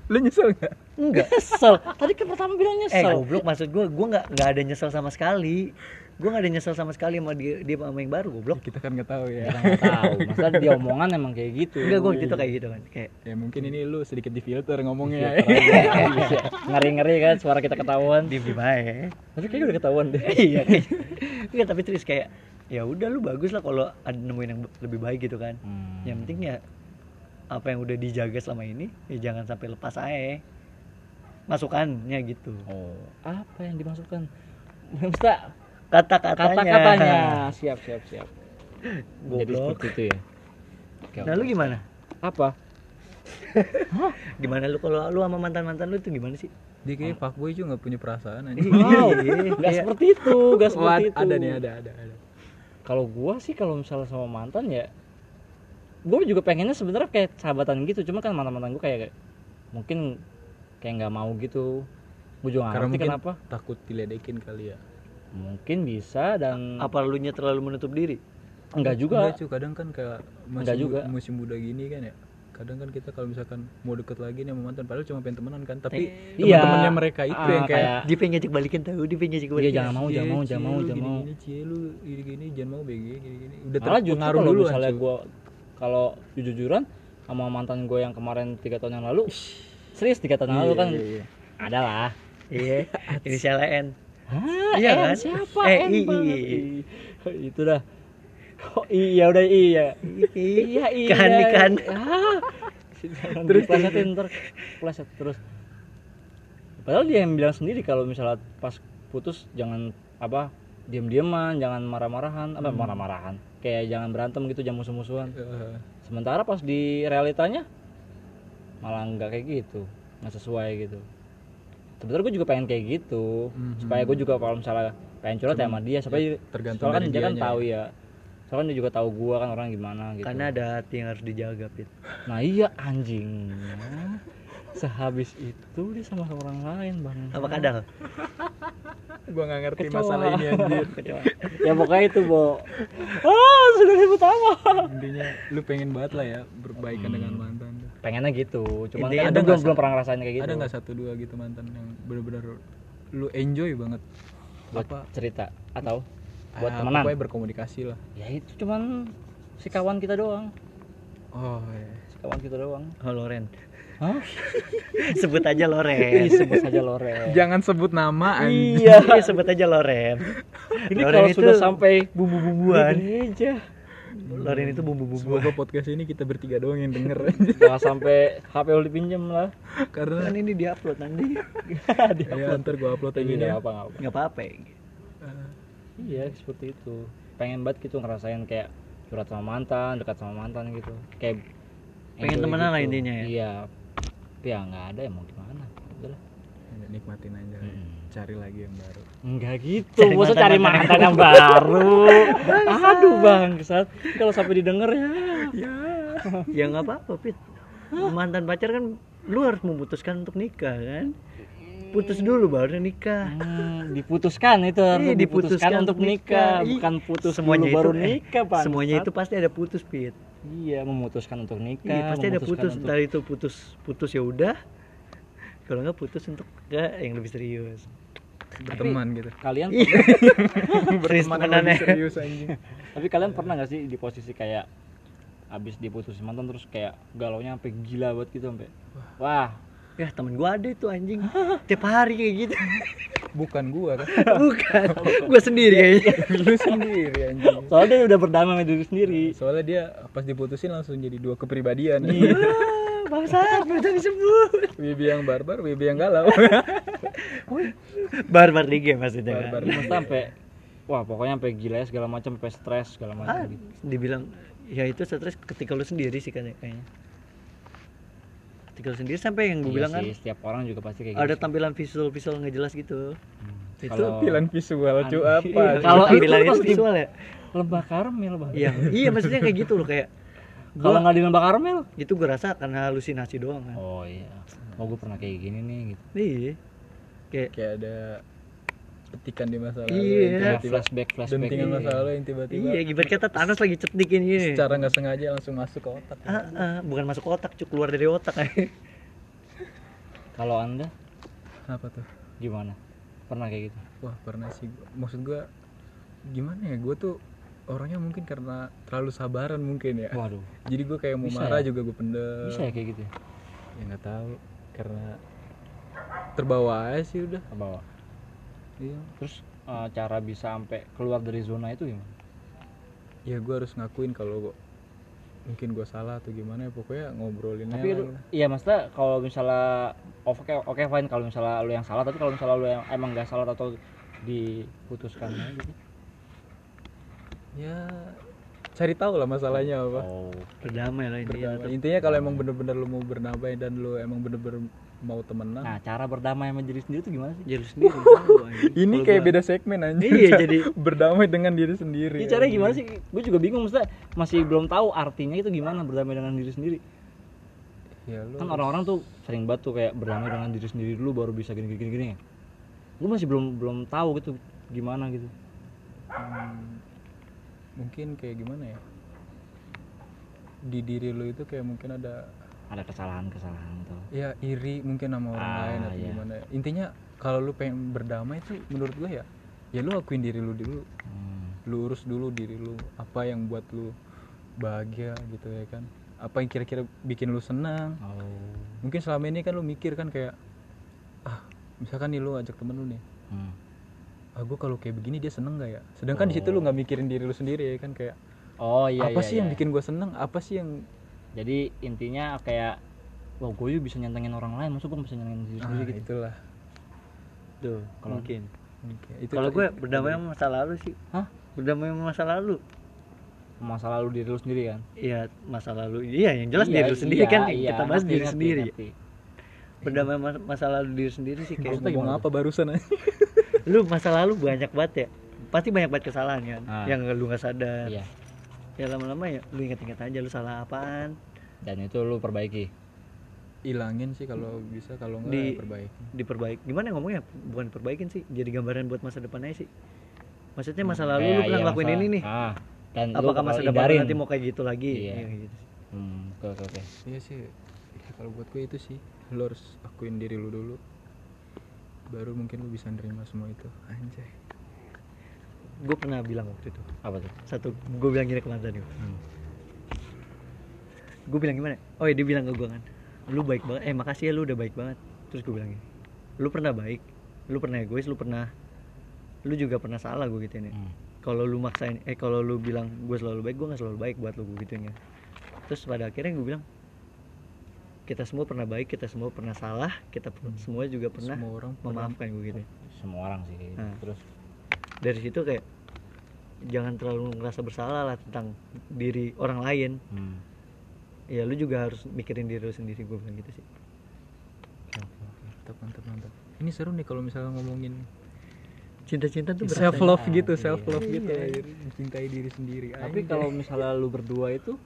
[SPEAKER 1] lu nyesel gak?
[SPEAKER 2] enggak
[SPEAKER 3] kesel tadi kan pertama
[SPEAKER 2] eh
[SPEAKER 3] bilang nyesel
[SPEAKER 2] goblok maksud gue gue nggak nggak ada nyesel sama sekali gue nggak ada nyesel sama sekali sama dia dia sama yang baru goblok
[SPEAKER 1] Kita kan nggak tahu ya.
[SPEAKER 3] Kita nggak tahu masa dia omongan emang kayak gitu
[SPEAKER 2] enggak gue waktu itu kayak gitu kan kayak
[SPEAKER 1] Ya mungkin ini lu sedikit di filter ngomongnya. ya.
[SPEAKER 3] ngeri ngeri kan suara kita ketahuan Eh,
[SPEAKER 2] diem diem aja
[SPEAKER 3] tapi kayaknya udah ketahuan deh
[SPEAKER 2] iya kayak- enggak tapi terus kayak ya udah lu bagus lah kalau ada nemuin yang lebih baik gitu kan
[SPEAKER 1] Hmm.
[SPEAKER 2] yang penting ya apa yang udah dijaga selama ini ya jangan sampai lepas aja masukannya gitu
[SPEAKER 3] oh apa yang dimasukkan Maksudnya
[SPEAKER 2] kata-katanya
[SPEAKER 3] kata-katanya siap siap siap jadi
[SPEAKER 2] goblok
[SPEAKER 3] seperti itu ya Oke,
[SPEAKER 2] nah
[SPEAKER 3] oke.
[SPEAKER 2] lu gimana
[SPEAKER 3] apa
[SPEAKER 2] gimana lu kalau lu sama mantan mantan lu tuh gimana sih
[SPEAKER 1] Dia kayak fuckboy juga gak punya perasaan aja.
[SPEAKER 3] wow nggak seperti itu
[SPEAKER 1] Iya,
[SPEAKER 3] nggak seperti itu
[SPEAKER 1] Ada nih, ada, ada, ada.
[SPEAKER 3] kalau gua sih kalau misalnya sama mantan ya gua juga pengennya sebenarnya kayak sahabatan gitu cuma kan mantan mantan gua kayak mungkin kayak nggak mau gitu gua juga nggak
[SPEAKER 1] Karena
[SPEAKER 3] ngerti
[SPEAKER 1] mungkin
[SPEAKER 3] kenapa
[SPEAKER 1] takut diledekin kali ya.
[SPEAKER 3] mungkin bisa dan
[SPEAKER 2] apa lu nya terlalu menutup diri
[SPEAKER 3] enggak juga
[SPEAKER 1] Enggak cuy, kadang kan kayak
[SPEAKER 3] Enggak
[SPEAKER 1] masih
[SPEAKER 3] juga.
[SPEAKER 1] mu- musim muda gini kan ya. Kadang kan kita kalau misalkan mau deket lagi nih sama mantan padahal cuma pengen temenan kan, tapi
[SPEAKER 3] Iya.
[SPEAKER 1] teman-temannya mereka itu
[SPEAKER 3] Ah,
[SPEAKER 1] yang kayak
[SPEAKER 3] kayak,
[SPEAKER 2] dia pengen ngajak balikin tahu dia pengen ngajak
[SPEAKER 3] iya
[SPEAKER 2] balikin
[SPEAKER 3] jangan mau jangan mau jangan mau jangan mau
[SPEAKER 1] Gini, cie lu gini gini jangan mau BG gini gini. Udah
[SPEAKER 3] malah justru
[SPEAKER 1] terpengaruh
[SPEAKER 3] kalau
[SPEAKER 1] dulu
[SPEAKER 3] misalnya gue kalau jujur-jujuran sama mantan gue yang kemarin tiga tahun yang lalu serius tiga tahun yang
[SPEAKER 1] Iya,
[SPEAKER 3] lalu kan ada lah
[SPEAKER 2] iya inisial N
[SPEAKER 3] Hah,
[SPEAKER 2] Iya
[SPEAKER 3] N
[SPEAKER 2] kan?
[SPEAKER 3] siapa
[SPEAKER 2] Eh,
[SPEAKER 3] N
[SPEAKER 2] I, I,
[SPEAKER 3] banget
[SPEAKER 2] I.
[SPEAKER 3] I. itu dah oh, iya udah iya iya iya
[SPEAKER 2] Kan, kan.
[SPEAKER 3] Ah. terus plesetin ntar pleset terus padahal dia yang bilang sendiri kalau misalnya pas putus jangan apa diam-diaman jangan marah-marahan apa marah-marahan kayak jangan berantem gitu jangan musuh-musuhan
[SPEAKER 1] Eh,
[SPEAKER 3] sementara pas di realitanya malah nggak kayak gitu nggak sesuai gitu sebenarnya gue juga pengen kayak gitu
[SPEAKER 1] Mhm.
[SPEAKER 3] supaya gue juga kalau misalnya pengen curhat ya sama dia supaya
[SPEAKER 1] tergantung
[SPEAKER 3] soalnya kan
[SPEAKER 1] dari
[SPEAKER 3] dia kan
[SPEAKER 1] dianya
[SPEAKER 3] tahu ya soalnya kan dia juga tahu gue kan orang gimana gitu
[SPEAKER 2] karena ada hati yang harus dijaga pit
[SPEAKER 3] nah iya anjingnya sehabis itu dia sama orang lain bang
[SPEAKER 2] apa kadal
[SPEAKER 1] gua nggak ngerti
[SPEAKER 3] Kecoa.
[SPEAKER 1] masalah ini anjir.
[SPEAKER 3] ya pokoknya itu bo ah sudah ribut apa
[SPEAKER 1] Intinya lu pengen banget lah ya berbaikan
[SPEAKER 3] Hmm.
[SPEAKER 1] dengan mantan. tuh.
[SPEAKER 3] pengennya gitu cuma
[SPEAKER 1] ada
[SPEAKER 2] Intinya
[SPEAKER 3] kan gue belum,
[SPEAKER 1] nggak-
[SPEAKER 3] belum pernah ngerasain kayak gitu
[SPEAKER 1] Ada nggak satu dua gitu mantan yang benar-benar lu enjoy banget?
[SPEAKER 3] buat
[SPEAKER 1] Apa?
[SPEAKER 3] cerita atau buat
[SPEAKER 1] Ah,
[SPEAKER 3] temenan
[SPEAKER 1] Pokoknya berkomunikasi lah.
[SPEAKER 3] ya itu cuman si kawan kita doang
[SPEAKER 1] Oh, iya.
[SPEAKER 3] si kawan kita doang
[SPEAKER 2] oh Loren
[SPEAKER 3] Hah?
[SPEAKER 2] sebut aja
[SPEAKER 3] Ih,
[SPEAKER 2] Loren
[SPEAKER 3] sebut saja Loren
[SPEAKER 1] Jangan sebut nama anjing.
[SPEAKER 3] iya
[SPEAKER 2] Iya, sebut aja Loren
[SPEAKER 3] ini
[SPEAKER 2] Loren
[SPEAKER 3] kalau
[SPEAKER 2] itu-
[SPEAKER 3] sudah sampai
[SPEAKER 2] bumbu-bumbuan
[SPEAKER 3] di gereja
[SPEAKER 2] Loren itu bumbu-bumbuan
[SPEAKER 1] Semoga podcast ini kita bertiga doang yang denger
[SPEAKER 3] jangan sampai HP lu dipinjam lah
[SPEAKER 1] Karena
[SPEAKER 2] kan ini diupload nanti
[SPEAKER 1] ya, Eh, ntar gua upload aja
[SPEAKER 3] iya
[SPEAKER 1] nih
[SPEAKER 3] nggak apa nggak apa
[SPEAKER 2] nggak apa-apa ya.
[SPEAKER 3] iya seperti itu pengen banget gitu ngerasain kayak curhat sama mantan dekat sama mantan gitu kayak
[SPEAKER 2] Pengen
[SPEAKER 3] enjoy
[SPEAKER 2] temenan lah intinya ya?
[SPEAKER 3] iya tapi ya nggak ada ya mau gimana udahlah
[SPEAKER 1] Ya, Nikmatin aja
[SPEAKER 3] Hmm.
[SPEAKER 1] Cari lagi yang baru
[SPEAKER 3] Enggak gitu,
[SPEAKER 2] Cari
[SPEAKER 3] masa
[SPEAKER 2] mantan-
[SPEAKER 3] cari
[SPEAKER 2] mantan
[SPEAKER 3] mantan yang baru. Aduh bangsat, kalau sampai didengar ya.
[SPEAKER 2] Iya. ya nggak apa-apa pit mantan pacar kan lu harus memutuskan untuk nikah kan putus dulu baru nikah
[SPEAKER 3] Hmm, diputuskan itu
[SPEAKER 2] Iya,
[SPEAKER 3] harus diputuskan,
[SPEAKER 2] diputuskan
[SPEAKER 3] untuk
[SPEAKER 2] untuk nikah.
[SPEAKER 3] nikah,
[SPEAKER 2] Ih,
[SPEAKER 3] bukan putus
[SPEAKER 2] semuanya
[SPEAKER 3] dulu baru
[SPEAKER 2] itu- eh,
[SPEAKER 3] nikah pak
[SPEAKER 2] semuanya itu pasti ada putus pit
[SPEAKER 3] iya memutuskan untuk nikah
[SPEAKER 2] Iya, pasti ada
[SPEAKER 3] Kan, memutuskan
[SPEAKER 2] putus
[SPEAKER 3] untuk-
[SPEAKER 2] dari itu putus putus ya udah kalau nggak putus untuk ke yang lebih serius
[SPEAKER 1] berteman gitu
[SPEAKER 2] Iya.
[SPEAKER 3] kalian
[SPEAKER 2] serius
[SPEAKER 1] Berteman yang lebih
[SPEAKER 2] temenannya
[SPEAKER 1] serius anjing
[SPEAKER 3] tapi kalian pernah nggak sih di posisi kayak abis diputusin mantan terus kayak galaunya sampai gila banget gitu sampai wah
[SPEAKER 2] ya temen gua ada itu anjing tiap hari kayak gitu
[SPEAKER 1] bukan gua kan
[SPEAKER 2] bukan gua sendiri kayaknya
[SPEAKER 3] Iya.
[SPEAKER 1] lu sendiri anjing
[SPEAKER 3] soalnya dia udah berdamai sama diri sendiri
[SPEAKER 1] soalnya dia pas diputusin langsung jadi dua kepribadian
[SPEAKER 2] Ah, bangsat belum bisa disebut
[SPEAKER 1] Wibi yang barbar Wibi yang galau
[SPEAKER 2] barbar liga maksudnya kan?
[SPEAKER 1] Barbar.
[SPEAKER 3] Maksudnya sampai wah pokoknya sampai gila ya segala macam sampai stres segala macam
[SPEAKER 2] ah,
[SPEAKER 3] gitu
[SPEAKER 2] dibilang ya itu stres ketika lu sendiri sih kan ya, kayaknya ketika lu sendiri sampai yang gue
[SPEAKER 3] Iya
[SPEAKER 2] bilang kan
[SPEAKER 3] sih, setiap orang juga pasti kayak gitu
[SPEAKER 2] ada
[SPEAKER 3] sih.
[SPEAKER 2] tampilan visual-visual nggak jelas gitu itu
[SPEAKER 3] Kalau-
[SPEAKER 1] tampilan visual cu
[SPEAKER 3] Anjing.
[SPEAKER 1] apa
[SPEAKER 2] Iya,
[SPEAKER 1] cu?
[SPEAKER 3] Kalau itu
[SPEAKER 2] tampilan itu
[SPEAKER 3] pasti-
[SPEAKER 2] visual ya
[SPEAKER 3] lembah karmel bang
[SPEAKER 2] iya iya maksudnya kayak gitu loh kayak
[SPEAKER 3] kalau nggak di lembah karmel
[SPEAKER 2] itu gue rasa karena halusinasi doang kan
[SPEAKER 3] oh iya oh gue pernah kayak gini nih gitu
[SPEAKER 2] iya kayak
[SPEAKER 1] kayak ada petikan di masa lalu
[SPEAKER 2] Iya.
[SPEAKER 1] yang
[SPEAKER 3] Kayak
[SPEAKER 1] tiba-tiba
[SPEAKER 3] flashback flashback
[SPEAKER 1] dentingan masa lalu yang tiba-tiba
[SPEAKER 2] iya ibarat kata Thanos lagi cetnikin
[SPEAKER 3] Iya.
[SPEAKER 2] ini
[SPEAKER 1] secara nggak sengaja langsung masuk ke otak ya.
[SPEAKER 2] Ah, ah, bukan masuk otak cuk keluar dari otak
[SPEAKER 3] kalau anda
[SPEAKER 1] apa tuh
[SPEAKER 3] gimana pernah kayak gitu
[SPEAKER 1] wah pernah sih maksud gua gimana ya gua tuh orangnya mungkin karena terlalu sabaran mungkin ya
[SPEAKER 2] Eh,
[SPEAKER 3] waduh
[SPEAKER 1] jadi gua kayak mau
[SPEAKER 3] Bisa
[SPEAKER 1] marah
[SPEAKER 3] ya?
[SPEAKER 1] juga gua pendem
[SPEAKER 3] bisa ya kayak gitu ya?
[SPEAKER 1] ya nggak tahu karena terbawa aja sih udah
[SPEAKER 3] ke bawah
[SPEAKER 1] iya
[SPEAKER 3] terus eh, cara bisa sampai keluar dari zona itu gimana
[SPEAKER 1] ya gua harus ngakuin kalau gua- mungkin gua salah atau gimana ya pokoknya ngobrolin
[SPEAKER 3] tapi
[SPEAKER 1] aja
[SPEAKER 3] lu,
[SPEAKER 1] lah.
[SPEAKER 3] iya maksudnya kalau misalnya oh, oke oke fine kalau misalnya lu yang salah tapi kalau misalnya lu yang emang gak salah atau diputuskan aja gitu
[SPEAKER 1] ya cari tahu lah masalahnya apa
[SPEAKER 3] oh
[SPEAKER 2] berdamai lah ini
[SPEAKER 3] Iya,
[SPEAKER 1] Berdamai. intinya kalau emang bener-bener lu mau bernamai dan lu emang bener-bener mau temenan
[SPEAKER 3] nah cara berdamai sama diri sendiri itu gimana sih
[SPEAKER 2] jadi lu sendiri tahu, anjing.
[SPEAKER 1] ini
[SPEAKER 2] Kalau
[SPEAKER 1] kayak
[SPEAKER 2] gua-
[SPEAKER 1] beda segmen anjir
[SPEAKER 2] Iya, jadi-
[SPEAKER 1] berdamai dengan diri sendiri
[SPEAKER 3] ini caranya gimana sih gue juga bingung maksudnya masih belum tahu artinya itu gimana berdamai dengan diri sendiri
[SPEAKER 1] ya lu
[SPEAKER 3] kan orang-orang tuh sering banget tuh kayak berdamai dengan diri sendiri dulu baru bisa gini gini gini, gini ya gue masih belum belum tahu gitu gimana gitu
[SPEAKER 1] hmm, mungkin kayak gimana ya di diri lu itu kayak mungkin ada
[SPEAKER 3] ada kesalahan kesalahan gitu
[SPEAKER 1] ya iri mungkin sama orang
[SPEAKER 3] Ah,
[SPEAKER 1] lain atau
[SPEAKER 3] iya.
[SPEAKER 1] gimana intinya kalau lu pengen berdamai tuh menurut gue ya ya lu akuin diri lu dulu
[SPEAKER 3] Hmm.
[SPEAKER 1] lu urus dulu diri lu apa yang buat lu bahagia gitu ya kan apa yang kira-kira bikin lu senang
[SPEAKER 3] oh
[SPEAKER 1] mungkin selama ini kan lu mikir kan kayak ah misalkan nih lu ajak temen lu nih
[SPEAKER 3] Hmm.
[SPEAKER 1] ah gua kalau kayak begini dia seneng gak ya sedangkan di situ lu nggak mikirin diri lu sendiri ya kan kayak
[SPEAKER 3] oh iya
[SPEAKER 1] apa
[SPEAKER 3] iya,
[SPEAKER 1] sih yang
[SPEAKER 3] iya.
[SPEAKER 1] bikin gua seneng apa sih yang
[SPEAKER 3] jadi intinya kayak wah gue bisa nyantengin orang lain maksud gue bisa nyantengin diri sendiri
[SPEAKER 1] ah,
[SPEAKER 3] gitu
[SPEAKER 1] itulah
[SPEAKER 2] tuh
[SPEAKER 3] Kalau-
[SPEAKER 2] mungkin
[SPEAKER 1] Oke, itu
[SPEAKER 2] kalau
[SPEAKER 1] tuh-
[SPEAKER 2] gue berdamai sama masa lalu sih
[SPEAKER 3] Hah?
[SPEAKER 2] berdamai sama masa lalu
[SPEAKER 3] masa lalu diri lu sendiri kan
[SPEAKER 2] Iya masa lalu iya yang jelas
[SPEAKER 3] Iya,
[SPEAKER 2] diri lu sendiri
[SPEAKER 3] iya,
[SPEAKER 2] kan yang
[SPEAKER 3] iya,
[SPEAKER 2] kita bahas
[SPEAKER 3] ngerti,
[SPEAKER 2] diri
[SPEAKER 3] ngerti,
[SPEAKER 2] sendiri
[SPEAKER 3] ngerti.
[SPEAKER 2] berdamai ma- masa lalu diri sendiri sih
[SPEAKER 1] Lu
[SPEAKER 2] kayak
[SPEAKER 1] ngomong apa barusan
[SPEAKER 2] lu masa lalu banyak banget ya pasti banyak banget kesalahan kan
[SPEAKER 3] Ah.
[SPEAKER 2] yang lu nggak sadar
[SPEAKER 3] iya
[SPEAKER 2] ya lama-lama ya lu inget-inget aja lu salah apaan
[SPEAKER 3] dan itu lu perbaiki
[SPEAKER 1] ilangin sih kalau bisa kalau nggak
[SPEAKER 2] Di-
[SPEAKER 1] ya perbaiki
[SPEAKER 2] diperbaik gimana ngomongnya bukan perbaikin sih jadi gambaran buat masa depannya sih maksudnya masa lalu
[SPEAKER 3] Kayak
[SPEAKER 2] lu pernah
[SPEAKER 3] iya,
[SPEAKER 2] ngelakuin
[SPEAKER 3] masa-
[SPEAKER 2] ini nih
[SPEAKER 3] ah, dan lu
[SPEAKER 2] apakah
[SPEAKER 3] bakal
[SPEAKER 2] masa depan lu
[SPEAKER 3] hindarin.
[SPEAKER 2] nanti mau kayak gitu lagi
[SPEAKER 3] Iya.
[SPEAKER 2] Ya, kayak gitu.
[SPEAKER 3] hmm, oke oke oke
[SPEAKER 1] iya sih ya, kalau buat gue itu sih lu harus akuin diri lu dulu baru mungkin lu bisa nerima semua itu anjay
[SPEAKER 2] gue pernah bilang waktu itu
[SPEAKER 3] apa tuh
[SPEAKER 2] satu gue bilang gini ke mantan gue
[SPEAKER 3] Hmm.
[SPEAKER 2] gue bilang gimana oh iya dia bilang ke gue kan lu baik banget eh makasih ya lu udah baik banget terus gue bilang gini lu pernah baik lu pernah egois lu pernah lu juga pernah salah gue gituin ya
[SPEAKER 3] Hmm.
[SPEAKER 2] kalau lu maksain eh kalau lu bilang gue selalu baik gue nggak selalu baik buat lu gue gituin ya terus pada akhirnya gue bilang kita semua pernah baik kita semua pernah salah kita per- semua juga pernah
[SPEAKER 1] semua orang pernah
[SPEAKER 2] memaafkan gue gitu
[SPEAKER 3] semua orang sih kayak gitu.
[SPEAKER 2] Hmm.
[SPEAKER 3] terus
[SPEAKER 2] dari situ kayak jangan terlalu ngerasa bersalah lah tentang diri orang lain
[SPEAKER 3] hmm.
[SPEAKER 2] ya lu juga harus mikirin diri lu sendiri gue bilang gitu sih
[SPEAKER 1] Oke, oke, oke. Mantap, mantap, mantap. Ini seru nih kalau misalnya ngomongin
[SPEAKER 2] cinta-cinta tuh berat,
[SPEAKER 1] self love
[SPEAKER 3] ya.
[SPEAKER 1] gitu,
[SPEAKER 3] Iya.
[SPEAKER 1] self love gitu,
[SPEAKER 2] Iya.
[SPEAKER 1] anjir. mencintai diri sendiri.
[SPEAKER 3] tapi
[SPEAKER 1] anjay.
[SPEAKER 3] kalau misalnya lu berdua itu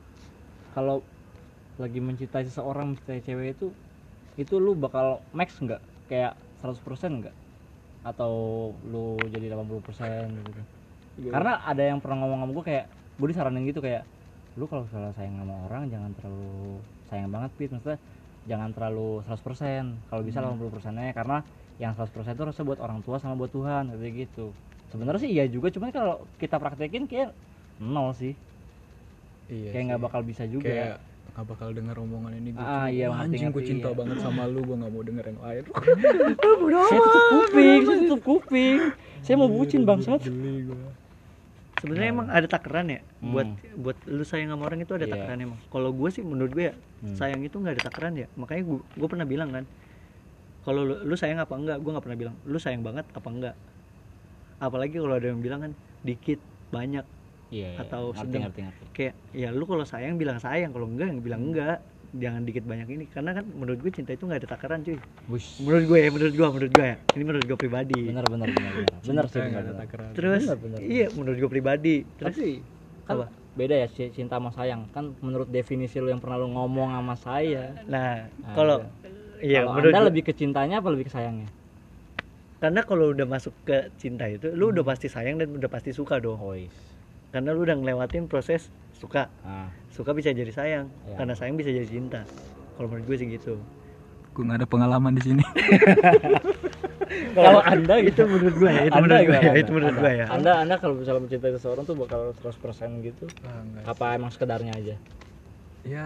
[SPEAKER 3] kalau lagi mencintai seseorang mencintai cewek itu itu lu bakal max nggak kayak 100% enggak? Atau lu jadi 80% gitu. Karena ada yang pernah ngomong sama gue kayak gue disaranin gitu kayak lu kalau misalnya sayang sama orang jangan terlalu sayang banget Pit maksudnya jangan terlalu 100% kalau bisa 80% nya karena yang 100% itu harusnya buat orang tua sama buat Tuhan kayak gitu sebenarnya sih iya juga cuman kalau kita praktekin kayak nol sih
[SPEAKER 1] Iya
[SPEAKER 3] kayak nggak
[SPEAKER 1] sih.
[SPEAKER 3] bakal bisa juga
[SPEAKER 1] kayak nggak bakal denger omongan ini gue
[SPEAKER 3] Ah, iya,
[SPEAKER 1] anjing gue
[SPEAKER 3] ngerti-ngerti,
[SPEAKER 1] cinta
[SPEAKER 3] iya.
[SPEAKER 1] banget sama lu gue nggak mau denger yang lain
[SPEAKER 3] saya tutup kuping saya tutup kuping saya mau bucin bangsat
[SPEAKER 1] geli gue
[SPEAKER 2] sebenarnya emang ada takaran ya
[SPEAKER 3] Nah. Hmm.
[SPEAKER 2] buat buat lu sayang sama orang itu ada
[SPEAKER 3] Iya.
[SPEAKER 2] takaran emang kalau gue sih menurut gue ya
[SPEAKER 3] Hmm.
[SPEAKER 2] sayang itu nggak ada takaran ya makanya gue gue pernah bilang kan kalau lu, lu sayang apa enggak gue nggak pernah bilang lu sayang banget apa enggak apalagi kalau ada yang bilang kan dikit banyak
[SPEAKER 3] iya iya,
[SPEAKER 2] Atau
[SPEAKER 3] ngerti,
[SPEAKER 2] sedang-
[SPEAKER 3] ngerti ngerti
[SPEAKER 2] kayak ya lu kalau sayang bilang sayang kalau enggak yang
[SPEAKER 3] Hmm.
[SPEAKER 2] bilang enggak jangan dikit banyak ini karena kan menurut gue cinta itu nggak ada takaran cuy
[SPEAKER 3] Bush.
[SPEAKER 2] menurut gue ya menurut gue menurut gue ya ini menurut gue pribadi
[SPEAKER 3] benar benar benar benar benar sih benar benar.
[SPEAKER 2] terus
[SPEAKER 3] Benar, benar.
[SPEAKER 2] iya menurut gue pribadi terus
[SPEAKER 1] tapi
[SPEAKER 3] kan
[SPEAKER 2] Apa?
[SPEAKER 3] beda ya ci- cinta sama sayang kan menurut definisi lu yang pernah lu ngomong sama saya
[SPEAKER 2] nah
[SPEAKER 3] Ada.
[SPEAKER 2] kalau iya
[SPEAKER 3] kalau
[SPEAKER 2] menurut
[SPEAKER 3] anda
[SPEAKER 2] gua-
[SPEAKER 3] lebih ke cintanya apa lebih ke sayangnya
[SPEAKER 2] karena kalau udah masuk ke cinta itu lu udah pasti sayang dan udah pasti suka dong
[SPEAKER 3] Hois.
[SPEAKER 2] karena lu udah ngelewatin proses suka
[SPEAKER 3] Ah,
[SPEAKER 2] suka bisa jadi sayang
[SPEAKER 3] Iya.
[SPEAKER 2] karena sayang bisa jadi cinta kalau menurut gue sih gitu
[SPEAKER 1] gue nggak ada pengalaman di sini
[SPEAKER 3] kalau anda
[SPEAKER 2] itu
[SPEAKER 3] gitu
[SPEAKER 2] menurut gue ya itu menurut gue ya
[SPEAKER 3] gimana?
[SPEAKER 2] itu menurut
[SPEAKER 3] Anda-
[SPEAKER 2] gue ya
[SPEAKER 3] anda anda kalau misalnya mencintai seseorang tuh bakal 100% gitu apa emang sekedarnya aja
[SPEAKER 1] Ah, ya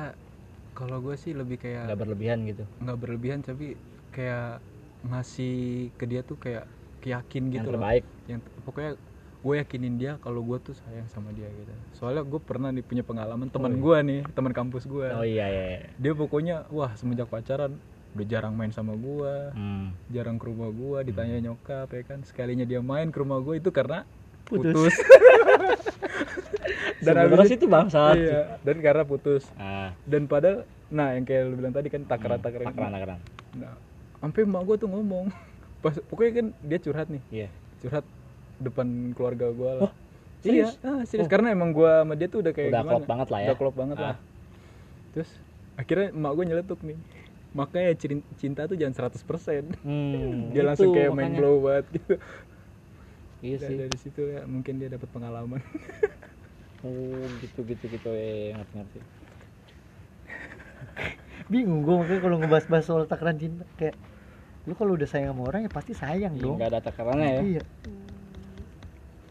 [SPEAKER 1] kalau gue sih lebih
[SPEAKER 3] nggak
[SPEAKER 1] kayak
[SPEAKER 3] berlebihan gitu
[SPEAKER 1] nggak berlebihan tapi kayak ngasih ke dia tuh kayak yakin
[SPEAKER 3] yang
[SPEAKER 1] gitu loh
[SPEAKER 3] terbaik
[SPEAKER 1] yang pokoknya gue yakinin dia kalau gue tuh sayang sama dia gitu soalnya gue pernah nih punya pengalaman teman gue nih teman kampus gue
[SPEAKER 3] iya. oh iya iya iya.
[SPEAKER 1] dia pokoknya wah semenjak pacaran udah jarang main sama gue
[SPEAKER 3] hmm.
[SPEAKER 1] jarang ke rumah gue ditanya nyokap ya kan sekalinya dia main ke rumah gue itu karena putus, dan
[SPEAKER 3] sebenarnya
[SPEAKER 1] habis
[SPEAKER 3] sih itu bangsat
[SPEAKER 1] iya, dan karena putus
[SPEAKER 3] ah
[SPEAKER 1] dan padahal nah yang kayak lu bilang tadi kan takaran
[SPEAKER 2] hmm.
[SPEAKER 1] takaran
[SPEAKER 3] Hmm, takaran takaran
[SPEAKER 1] nah sampai emak gue tuh ngomong pas pokoknya kan dia curhat nih
[SPEAKER 3] iya
[SPEAKER 1] curhat depan keluarga gue lah.
[SPEAKER 3] Wah, serius? Oh.
[SPEAKER 1] Iya, ah, serius. Karena emang gue sama dia tuh udah kayak
[SPEAKER 3] Udah
[SPEAKER 1] gimana?
[SPEAKER 3] klop banget lah ya.
[SPEAKER 1] Udah klop banget lah.
[SPEAKER 3] Ah.
[SPEAKER 1] Terus akhirnya emak gue nyeletuk nih. Makanya cin- cinta tuh jangan 100%.
[SPEAKER 3] hmm,
[SPEAKER 1] Dia
[SPEAKER 3] itu
[SPEAKER 1] langsung kayak main
[SPEAKER 3] makanya.
[SPEAKER 1] blow banget gitu.
[SPEAKER 3] iya
[SPEAKER 1] Dan
[SPEAKER 3] sih
[SPEAKER 1] dari situ ya mungkin dia dapat pengalaman.
[SPEAKER 3] oh gitu gitu gitu eh ngerti ngerti
[SPEAKER 2] bingung gue makanya kalau ngebahas-bahas soal takaran cinta kayak lu kalau udah sayang sama orang ya pasti sayang dong
[SPEAKER 3] nggak ada takarannya ya
[SPEAKER 2] iya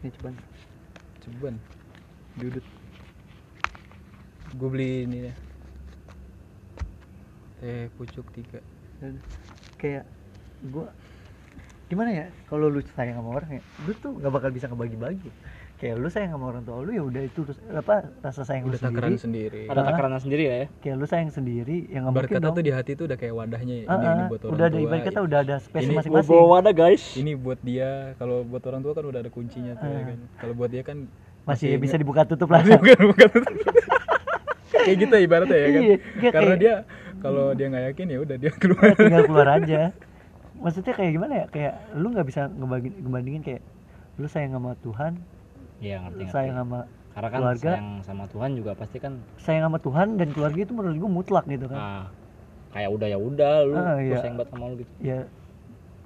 [SPEAKER 2] Ya, ini coba
[SPEAKER 1] Cuman dudut. Gue beli ini ya. Teh pucuk tiga.
[SPEAKER 2] Dan kayak gua gimana ya kalau lu sayang sama orang ya lu tuh nggak bakal bisa ngebagi-bagi kayak lu sayang sama orang tua lu ya udah itu terus apa rasa sayang
[SPEAKER 1] Udah
[SPEAKER 2] lu Oh, sendiri
[SPEAKER 1] takaran sendiri.
[SPEAKER 3] ada
[SPEAKER 2] Ah.
[SPEAKER 3] takarannya sendiri lah ya
[SPEAKER 2] kayak lu sayang sendiri yang nggak
[SPEAKER 1] Ibarat
[SPEAKER 2] mungkin
[SPEAKER 1] kata
[SPEAKER 2] dong
[SPEAKER 1] tuh di hati tuh udah kayak wadahnya ya,
[SPEAKER 2] Ah,
[SPEAKER 1] ini,
[SPEAKER 2] ah,
[SPEAKER 1] ini buat orang
[SPEAKER 2] udah ada
[SPEAKER 1] tua.
[SPEAKER 2] ibarat kata udah ada space
[SPEAKER 1] Ini
[SPEAKER 3] Gua
[SPEAKER 2] masing-masing
[SPEAKER 3] bawa wadah guys
[SPEAKER 1] ini buat dia kalau buat orang tua kan udah ada kuncinya tuh ya
[SPEAKER 2] Ah.
[SPEAKER 1] kan kalau buat dia kan
[SPEAKER 2] masih bisa
[SPEAKER 1] nggak-
[SPEAKER 2] dibuka tutup lah
[SPEAKER 1] bukan bukan kayak gitu ibaratnya ya kan
[SPEAKER 2] Iya, dia
[SPEAKER 1] karena
[SPEAKER 2] kayak-
[SPEAKER 1] dia kalau dia nggak yakin ya udah dia keluar
[SPEAKER 2] Ya, tinggal keluar aja maksudnya kayak gimana ya kayak lu nggak bisa ngebagi ngebandingin kayak lu sayang sama Tuhan
[SPEAKER 3] iya ngerti ngerti
[SPEAKER 2] sayang sama
[SPEAKER 3] karena kan
[SPEAKER 2] keluarga.
[SPEAKER 3] sayang sama Tuhan juga pasti kan
[SPEAKER 2] sayang sama Tuhan dan keluarga itu menurut gue mutlak gitu kan
[SPEAKER 3] ah, kayak udah ya udah lu
[SPEAKER 2] Ah,
[SPEAKER 3] gua
[SPEAKER 2] iya.
[SPEAKER 3] sayang banget sama lu gitu
[SPEAKER 2] ya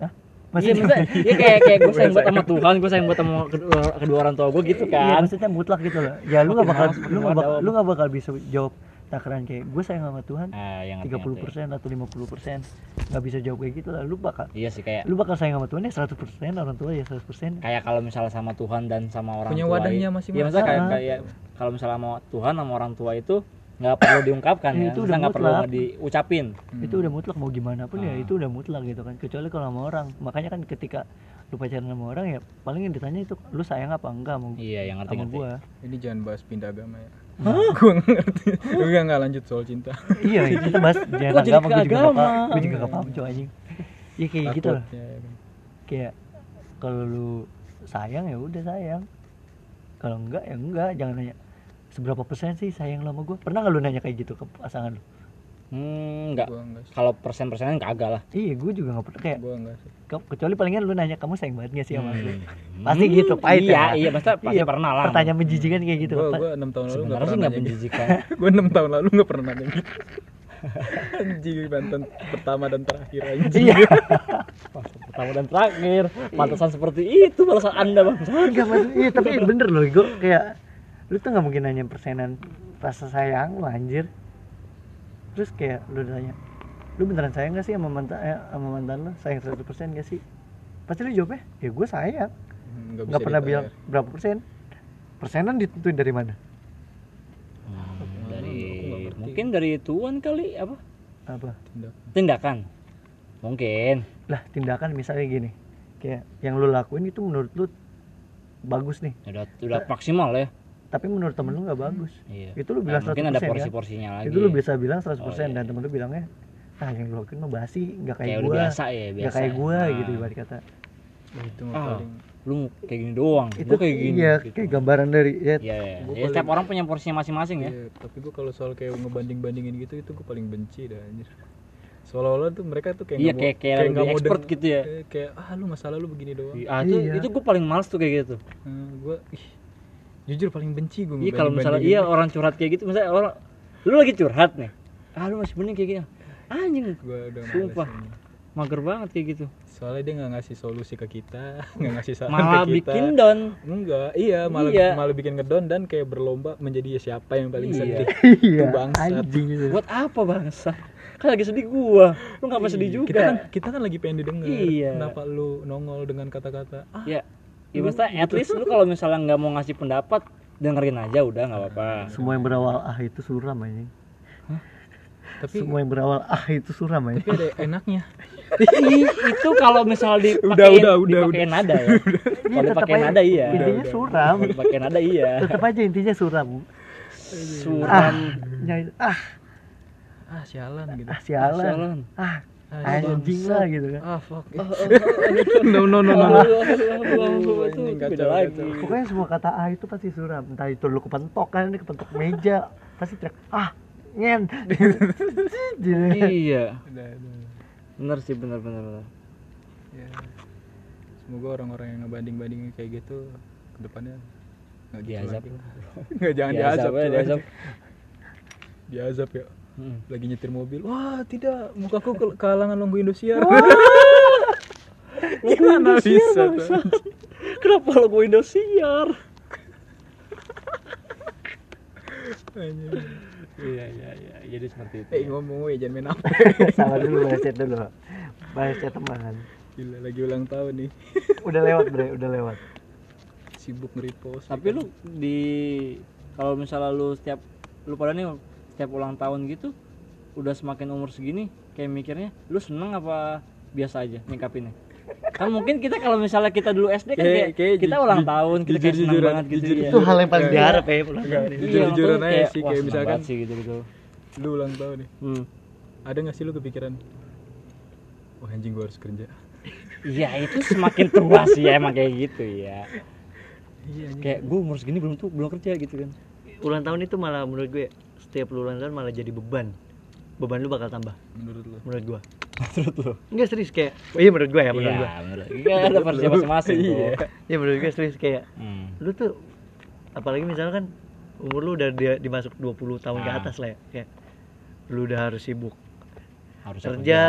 [SPEAKER 2] Hah?
[SPEAKER 3] Iya
[SPEAKER 2] maksudnya
[SPEAKER 3] maksudnya, iya kayak kayak gue sayang banget sama Tuhan, gue sayang banget sama kedua, kedua orang tua gue gitu
[SPEAKER 2] Iya,
[SPEAKER 3] kan. nah,
[SPEAKER 2] maksudnya mutlak gitu loh. Ya lu gak
[SPEAKER 3] Makin
[SPEAKER 2] bakal
[SPEAKER 3] lama, makin
[SPEAKER 2] lu gak
[SPEAKER 3] lama
[SPEAKER 2] bakal
[SPEAKER 3] jawab.
[SPEAKER 2] lu gak bakal bisa jawab takaran kayak gue sayang sama Tuhan
[SPEAKER 3] Nah, yang
[SPEAKER 2] 30% atau 50% nggak bisa jawab kayak gitu lah. Lu bakal
[SPEAKER 3] Iya sih kayak
[SPEAKER 2] lu bakal sayang sama Tuhan ya 100% orang tua ya 100%.
[SPEAKER 3] kayak kalau misalnya sama Tuhan dan sama orang
[SPEAKER 1] Punya
[SPEAKER 3] tua
[SPEAKER 1] wadahnya
[SPEAKER 3] i-
[SPEAKER 1] masing-masing.
[SPEAKER 3] Iya maksudnya kayak,
[SPEAKER 2] Ah.
[SPEAKER 3] kayak kalau misalnya sama Tuhan sama orang tua itu nggak perlu diungkapkan
[SPEAKER 2] Iya,
[SPEAKER 3] ya,
[SPEAKER 2] itu
[SPEAKER 3] itu
[SPEAKER 2] udah
[SPEAKER 3] nggak perlu
[SPEAKER 2] mutlak.
[SPEAKER 3] diucapin.
[SPEAKER 2] Itu udah mutlak mau gimana pun ya
[SPEAKER 3] Hmm. Ah.
[SPEAKER 2] itu udah mutlak gitu kan. Kecuali kalau sama orang. Makanya kan ketika lu pacaran sama orang ya paling yang ditanya itu lu sayang apa enggak mau
[SPEAKER 3] Iya, yang ngerti
[SPEAKER 2] sama
[SPEAKER 3] ngerti.
[SPEAKER 2] gua.
[SPEAKER 1] ini jangan bahas pindah agama ya gue ngerti gue nggak lanjut soal cinta
[SPEAKER 2] iya, kita bahas jangan
[SPEAKER 3] Kok jadi
[SPEAKER 2] agama gue juga nggak
[SPEAKER 3] keagama?
[SPEAKER 2] paham. Gue juga nggak paham cowok anjing. Iya kayak gitu lah.
[SPEAKER 1] Takutnya, ya kan.
[SPEAKER 2] kayak kalau lu sayang ya udah sayang kalau enggak ya enggak jangan nanya seberapa persen sih sayang lo sama gue pernah nggak lu nanya kayak gitu ke pasangan lu
[SPEAKER 3] Hmm, nggak.
[SPEAKER 1] gue nggak sih
[SPEAKER 3] Kalau persen persenan kagak lah.
[SPEAKER 2] iya gue juga nggak pernah kayak
[SPEAKER 1] gue nggak sih
[SPEAKER 2] ke- kecuali palingan lu nanya kamu sayang banget gak sih sama gue
[SPEAKER 3] Hmm.
[SPEAKER 2] pasti gitu pahit
[SPEAKER 3] Iya,
[SPEAKER 2] ya
[SPEAKER 3] iya pasti pasti
[SPEAKER 2] Iya,
[SPEAKER 3] pernah lah.
[SPEAKER 2] pertanyaan menjijikan kayak gitu
[SPEAKER 1] gue
[SPEAKER 2] Pak.
[SPEAKER 1] gue enam tahun lalu nggak
[SPEAKER 3] Sebenarnya sih
[SPEAKER 1] pernah
[SPEAKER 3] nggak
[SPEAKER 1] nanya
[SPEAKER 3] menjijikan.
[SPEAKER 1] gue enam tahun lalu nggak pernah nanya gitu. anjing Banten pertama dan terakhir anjing
[SPEAKER 3] Iya. Pasal pertama dan terakhir. Pantesan seperti itu balasan Anda, Bang.
[SPEAKER 1] Hmm,
[SPEAKER 2] Enggak mas, iya tapi bener loh, gue kayak lu tuh nggak mungkin nanya persenan rasa sayang lu anjir. Terus kayak lu nanya, lu beneran sayang gak sih sama mantan eh, sama mantan lu? Sayang 100% gak sih? Pasti lu jawabnya, ya gue sayang.
[SPEAKER 1] Hmm, nggak
[SPEAKER 2] Nggak pernah bilang berapa persen. Persenan ditentuin dari mana?
[SPEAKER 1] aku nggak
[SPEAKER 3] Dari
[SPEAKER 1] ngerti.
[SPEAKER 3] Hmm, mungkin dari Tuhan kali apa?
[SPEAKER 2] Apa?
[SPEAKER 3] Tindakan. Mungkin.
[SPEAKER 2] Lah tindakan misalnya gini, kayak yang lu lakuin itu menurut lu bagus nih,
[SPEAKER 3] Udah udah maksimal ya.
[SPEAKER 2] tapi menurut temen lu nggak bagus.
[SPEAKER 3] Iya.
[SPEAKER 2] Itu lu
[SPEAKER 3] Nah,
[SPEAKER 2] bilang 100%
[SPEAKER 3] mungkin ada
[SPEAKER 2] kan?
[SPEAKER 3] porsi-porsinya lagi.
[SPEAKER 2] itu lu bisa bilang 100%
[SPEAKER 3] Oh, iya,
[SPEAKER 2] dan
[SPEAKER 3] iya.
[SPEAKER 2] temen lu bilangnya ah yang lu lakuin mah basi nggak
[SPEAKER 3] kayak
[SPEAKER 2] kayak,
[SPEAKER 3] udah
[SPEAKER 2] gua
[SPEAKER 3] biasa ya, biasa.
[SPEAKER 2] nggak kayak
[SPEAKER 3] ya.
[SPEAKER 2] gua
[SPEAKER 3] Nah,
[SPEAKER 2] gitu ibarat kata
[SPEAKER 1] itu mah
[SPEAKER 3] Ah,
[SPEAKER 1] paling
[SPEAKER 3] lu kayak gini doang.
[SPEAKER 2] itu
[SPEAKER 3] Gua kayak gini.
[SPEAKER 2] iya
[SPEAKER 3] gitu.
[SPEAKER 2] kayak gambaran dari ya
[SPEAKER 3] Iya, iya.
[SPEAKER 1] Gua
[SPEAKER 3] Ya, setiap
[SPEAKER 1] paling-
[SPEAKER 3] orang punya porsinya masing-masing ya.
[SPEAKER 1] Iya, tapi gue kalau soal kayak ngebanding bandingin gitu itu gue paling benci dah anjir seolah-olah tuh mereka tuh kayak
[SPEAKER 3] Iya,
[SPEAKER 1] nggak mau-
[SPEAKER 3] kayak kayak
[SPEAKER 1] nggak
[SPEAKER 3] lebih
[SPEAKER 1] mau
[SPEAKER 3] expert
[SPEAKER 1] deng-
[SPEAKER 3] gitu ya.
[SPEAKER 1] eh, kayak ah lu masalah lu begini doang
[SPEAKER 3] Ah, itu
[SPEAKER 2] Iya.
[SPEAKER 3] itu gua paling males tuh kayak gitu.
[SPEAKER 1] gue ih jujur paling benci gue
[SPEAKER 3] Iya kalau misalnya iya orang curhat kayak gitu, misalnya orang lu lagi curhat nih. Ah lu masih bening kayak gini.
[SPEAKER 1] gue
[SPEAKER 3] Anjing,
[SPEAKER 1] udah males
[SPEAKER 3] Sumpah.
[SPEAKER 1] ini.
[SPEAKER 3] mager banget kayak gitu.
[SPEAKER 1] soalnya dia nggak ngasih solusi ke kita nggak ngasih saran
[SPEAKER 3] Malah
[SPEAKER 1] ke kita
[SPEAKER 3] bikin down.
[SPEAKER 1] enggak iya malah
[SPEAKER 3] Iya.
[SPEAKER 1] malah bikin ngedown dan kayak berlomba menjadi ya siapa yang paling
[SPEAKER 3] Iya.
[SPEAKER 1] sedih
[SPEAKER 2] iya
[SPEAKER 1] Itu bangsat.
[SPEAKER 2] anjing itu
[SPEAKER 3] Buat apa bangsa? Kan lagi sedih gua. Lu ngapa sedih
[SPEAKER 1] Iya,
[SPEAKER 3] juga?
[SPEAKER 1] kita kan kita kan lagi pengen didengar
[SPEAKER 3] Iya.
[SPEAKER 1] kenapa lu nongol dengan kata-kata ah
[SPEAKER 3] Ya, ya maksudnya at least lu kalau misalnya nggak mau ngasih pendapat, dengerin aja udah nggak apa-apa.
[SPEAKER 2] semua yang berawal ah itu suram anjing
[SPEAKER 1] tapi
[SPEAKER 2] semua yang berawal ah itu suram anjing
[SPEAKER 1] tapi ada enaknya
[SPEAKER 3] Ih, itu kalau misalnya dipakein,
[SPEAKER 1] Udah, udah, udah,
[SPEAKER 3] dipakein nada ya. Kalau
[SPEAKER 2] tetap
[SPEAKER 3] dipakein
[SPEAKER 2] aja,
[SPEAKER 3] nada iya.
[SPEAKER 2] intinya
[SPEAKER 1] Udah, udah.
[SPEAKER 2] suram
[SPEAKER 3] Kalau dipakein nada iya.
[SPEAKER 2] tetap aja intinya suram ah
[SPEAKER 3] Suram.
[SPEAKER 2] nyai ah
[SPEAKER 1] ah sialan gitu
[SPEAKER 2] ah sialan
[SPEAKER 3] Sialan.
[SPEAKER 2] ah
[SPEAKER 1] ah,
[SPEAKER 2] anjing lah gitu kan
[SPEAKER 1] ah fuck
[SPEAKER 3] Oh, gitu.
[SPEAKER 1] no no no no
[SPEAKER 3] Aduh, aduh, aduh, aduh, itu
[SPEAKER 1] Anjing,
[SPEAKER 3] itu beda
[SPEAKER 1] kacau,
[SPEAKER 3] lagi.
[SPEAKER 1] kacau.
[SPEAKER 2] pokoknya semua kata ah itu pasti suram entah itu lu kepentok kan ini kepentok meja pasti teriak ah ngen Jadi-
[SPEAKER 3] Iya,
[SPEAKER 1] Udah, udah.
[SPEAKER 3] benar sih benar benar. benar.
[SPEAKER 1] Ya. semoga orang-orang yang ngebanding-bandingin kayak gitu kedepannya nggak gitu
[SPEAKER 3] Diazab.
[SPEAKER 1] lagi lah. nggak jangan
[SPEAKER 3] Iya,
[SPEAKER 1] diazab
[SPEAKER 3] siapa ya,
[SPEAKER 1] coy.
[SPEAKER 3] Oh, diazab.
[SPEAKER 1] diazab ya
[SPEAKER 3] Hmm.
[SPEAKER 1] lagi nyetir mobil wah tidak mukaku ke kalangan lembu Indosiar
[SPEAKER 3] Logo
[SPEAKER 1] Gimana
[SPEAKER 3] Indosiar,
[SPEAKER 1] bisa,
[SPEAKER 3] bangsa? Kenapa logo Indosiar?
[SPEAKER 1] Anjing.
[SPEAKER 3] Iya iya iya, jadi seperti itu.
[SPEAKER 1] eh ngomong we jangan main apa
[SPEAKER 2] salah dulu balas chat dulu balas chat teman
[SPEAKER 1] gila lagi ulang tahun nih
[SPEAKER 2] udah lewat bre udah lewat
[SPEAKER 1] sibuk nge-repost
[SPEAKER 3] Tapi lu di kalau misalnya lu setiap lu pada nih setiap ulang tahun gitu udah semakin umur segini kayak mikirnya lu seneng apa biasa aja nyikapinnya kan mungkin kita kalau misalnya kita dulu SD kan
[SPEAKER 1] Kayak-
[SPEAKER 3] kayak,
[SPEAKER 1] kayak
[SPEAKER 3] kita
[SPEAKER 1] ju-
[SPEAKER 3] ulang
[SPEAKER 1] ju-
[SPEAKER 3] tahun kita kayak seneng
[SPEAKER 1] jujur-jujuran,
[SPEAKER 3] banget gitu
[SPEAKER 1] jujur-jujuran.
[SPEAKER 3] ya
[SPEAKER 2] itu hal yang paling diharap ya pulang
[SPEAKER 1] Enggak,
[SPEAKER 2] tahun ini.
[SPEAKER 1] jujur-jujuran aja sih
[SPEAKER 3] wah,
[SPEAKER 1] kayak
[SPEAKER 3] seneng
[SPEAKER 1] misalkan
[SPEAKER 3] banget sih gitu gitu
[SPEAKER 1] lu ulang tahun nih
[SPEAKER 3] hmm.
[SPEAKER 1] ada nggak sih lu kepikiran wah anjing gua harus kerja
[SPEAKER 3] iya itu semakin tua sih ya, emang kayak gitu ya
[SPEAKER 1] iya anjing
[SPEAKER 3] kayak gue umur segini belum tuh belum kerja gitu kan
[SPEAKER 2] ulang tahun itu malah menurut gue setiap lu ulang tahun malah jadi beban beban lu bakal tambah
[SPEAKER 1] menurut lu
[SPEAKER 2] menurut gua
[SPEAKER 3] menurut lu
[SPEAKER 2] enggak serius kayak oh, iya menurut gua ya menurut gua
[SPEAKER 3] iya menurut iya ada versi masing-masing
[SPEAKER 1] Iya.
[SPEAKER 3] tuh
[SPEAKER 2] iya menurut gua serius kayak
[SPEAKER 3] Hmm.
[SPEAKER 2] lu tuh apalagi misalnya kan umur lu udah di, dimasuk 20 tahun ke
[SPEAKER 3] Ah.
[SPEAKER 2] atas lah ya kayak lu udah harus sibuk
[SPEAKER 3] harus
[SPEAKER 2] kerja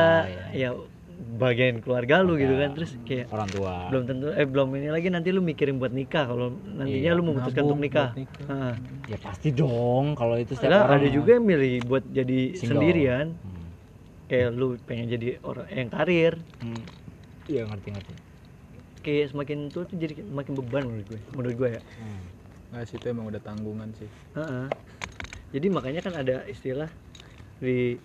[SPEAKER 2] ya bagian keluarga lu gitu
[SPEAKER 3] Keluarga.
[SPEAKER 2] kan terus kayak
[SPEAKER 3] orang tua
[SPEAKER 2] belum tentu eh belum ini lagi nanti lu mikirin buat nikah kalau nantinya
[SPEAKER 3] Iya,
[SPEAKER 2] lu memutuskan
[SPEAKER 1] nabung
[SPEAKER 2] untuk nikah,
[SPEAKER 1] buat nikah.
[SPEAKER 2] Heeh.
[SPEAKER 3] ya pasti dong kalau itu
[SPEAKER 2] Padahal
[SPEAKER 3] setiap orang
[SPEAKER 2] ada juga yang milih buat jadi
[SPEAKER 3] Single.
[SPEAKER 2] sendirian
[SPEAKER 3] Hmm.
[SPEAKER 2] kayak lu pengen jadi orang yang karir
[SPEAKER 3] Hmm. iya ngerti ngerti
[SPEAKER 2] kayak semakin tua tuh jadi makin beban menurut gue menurut gue ya
[SPEAKER 3] Hmm.
[SPEAKER 1] nggak sih itu emang udah tanggungan sih
[SPEAKER 2] Heeh. jadi makanya kan ada istilah di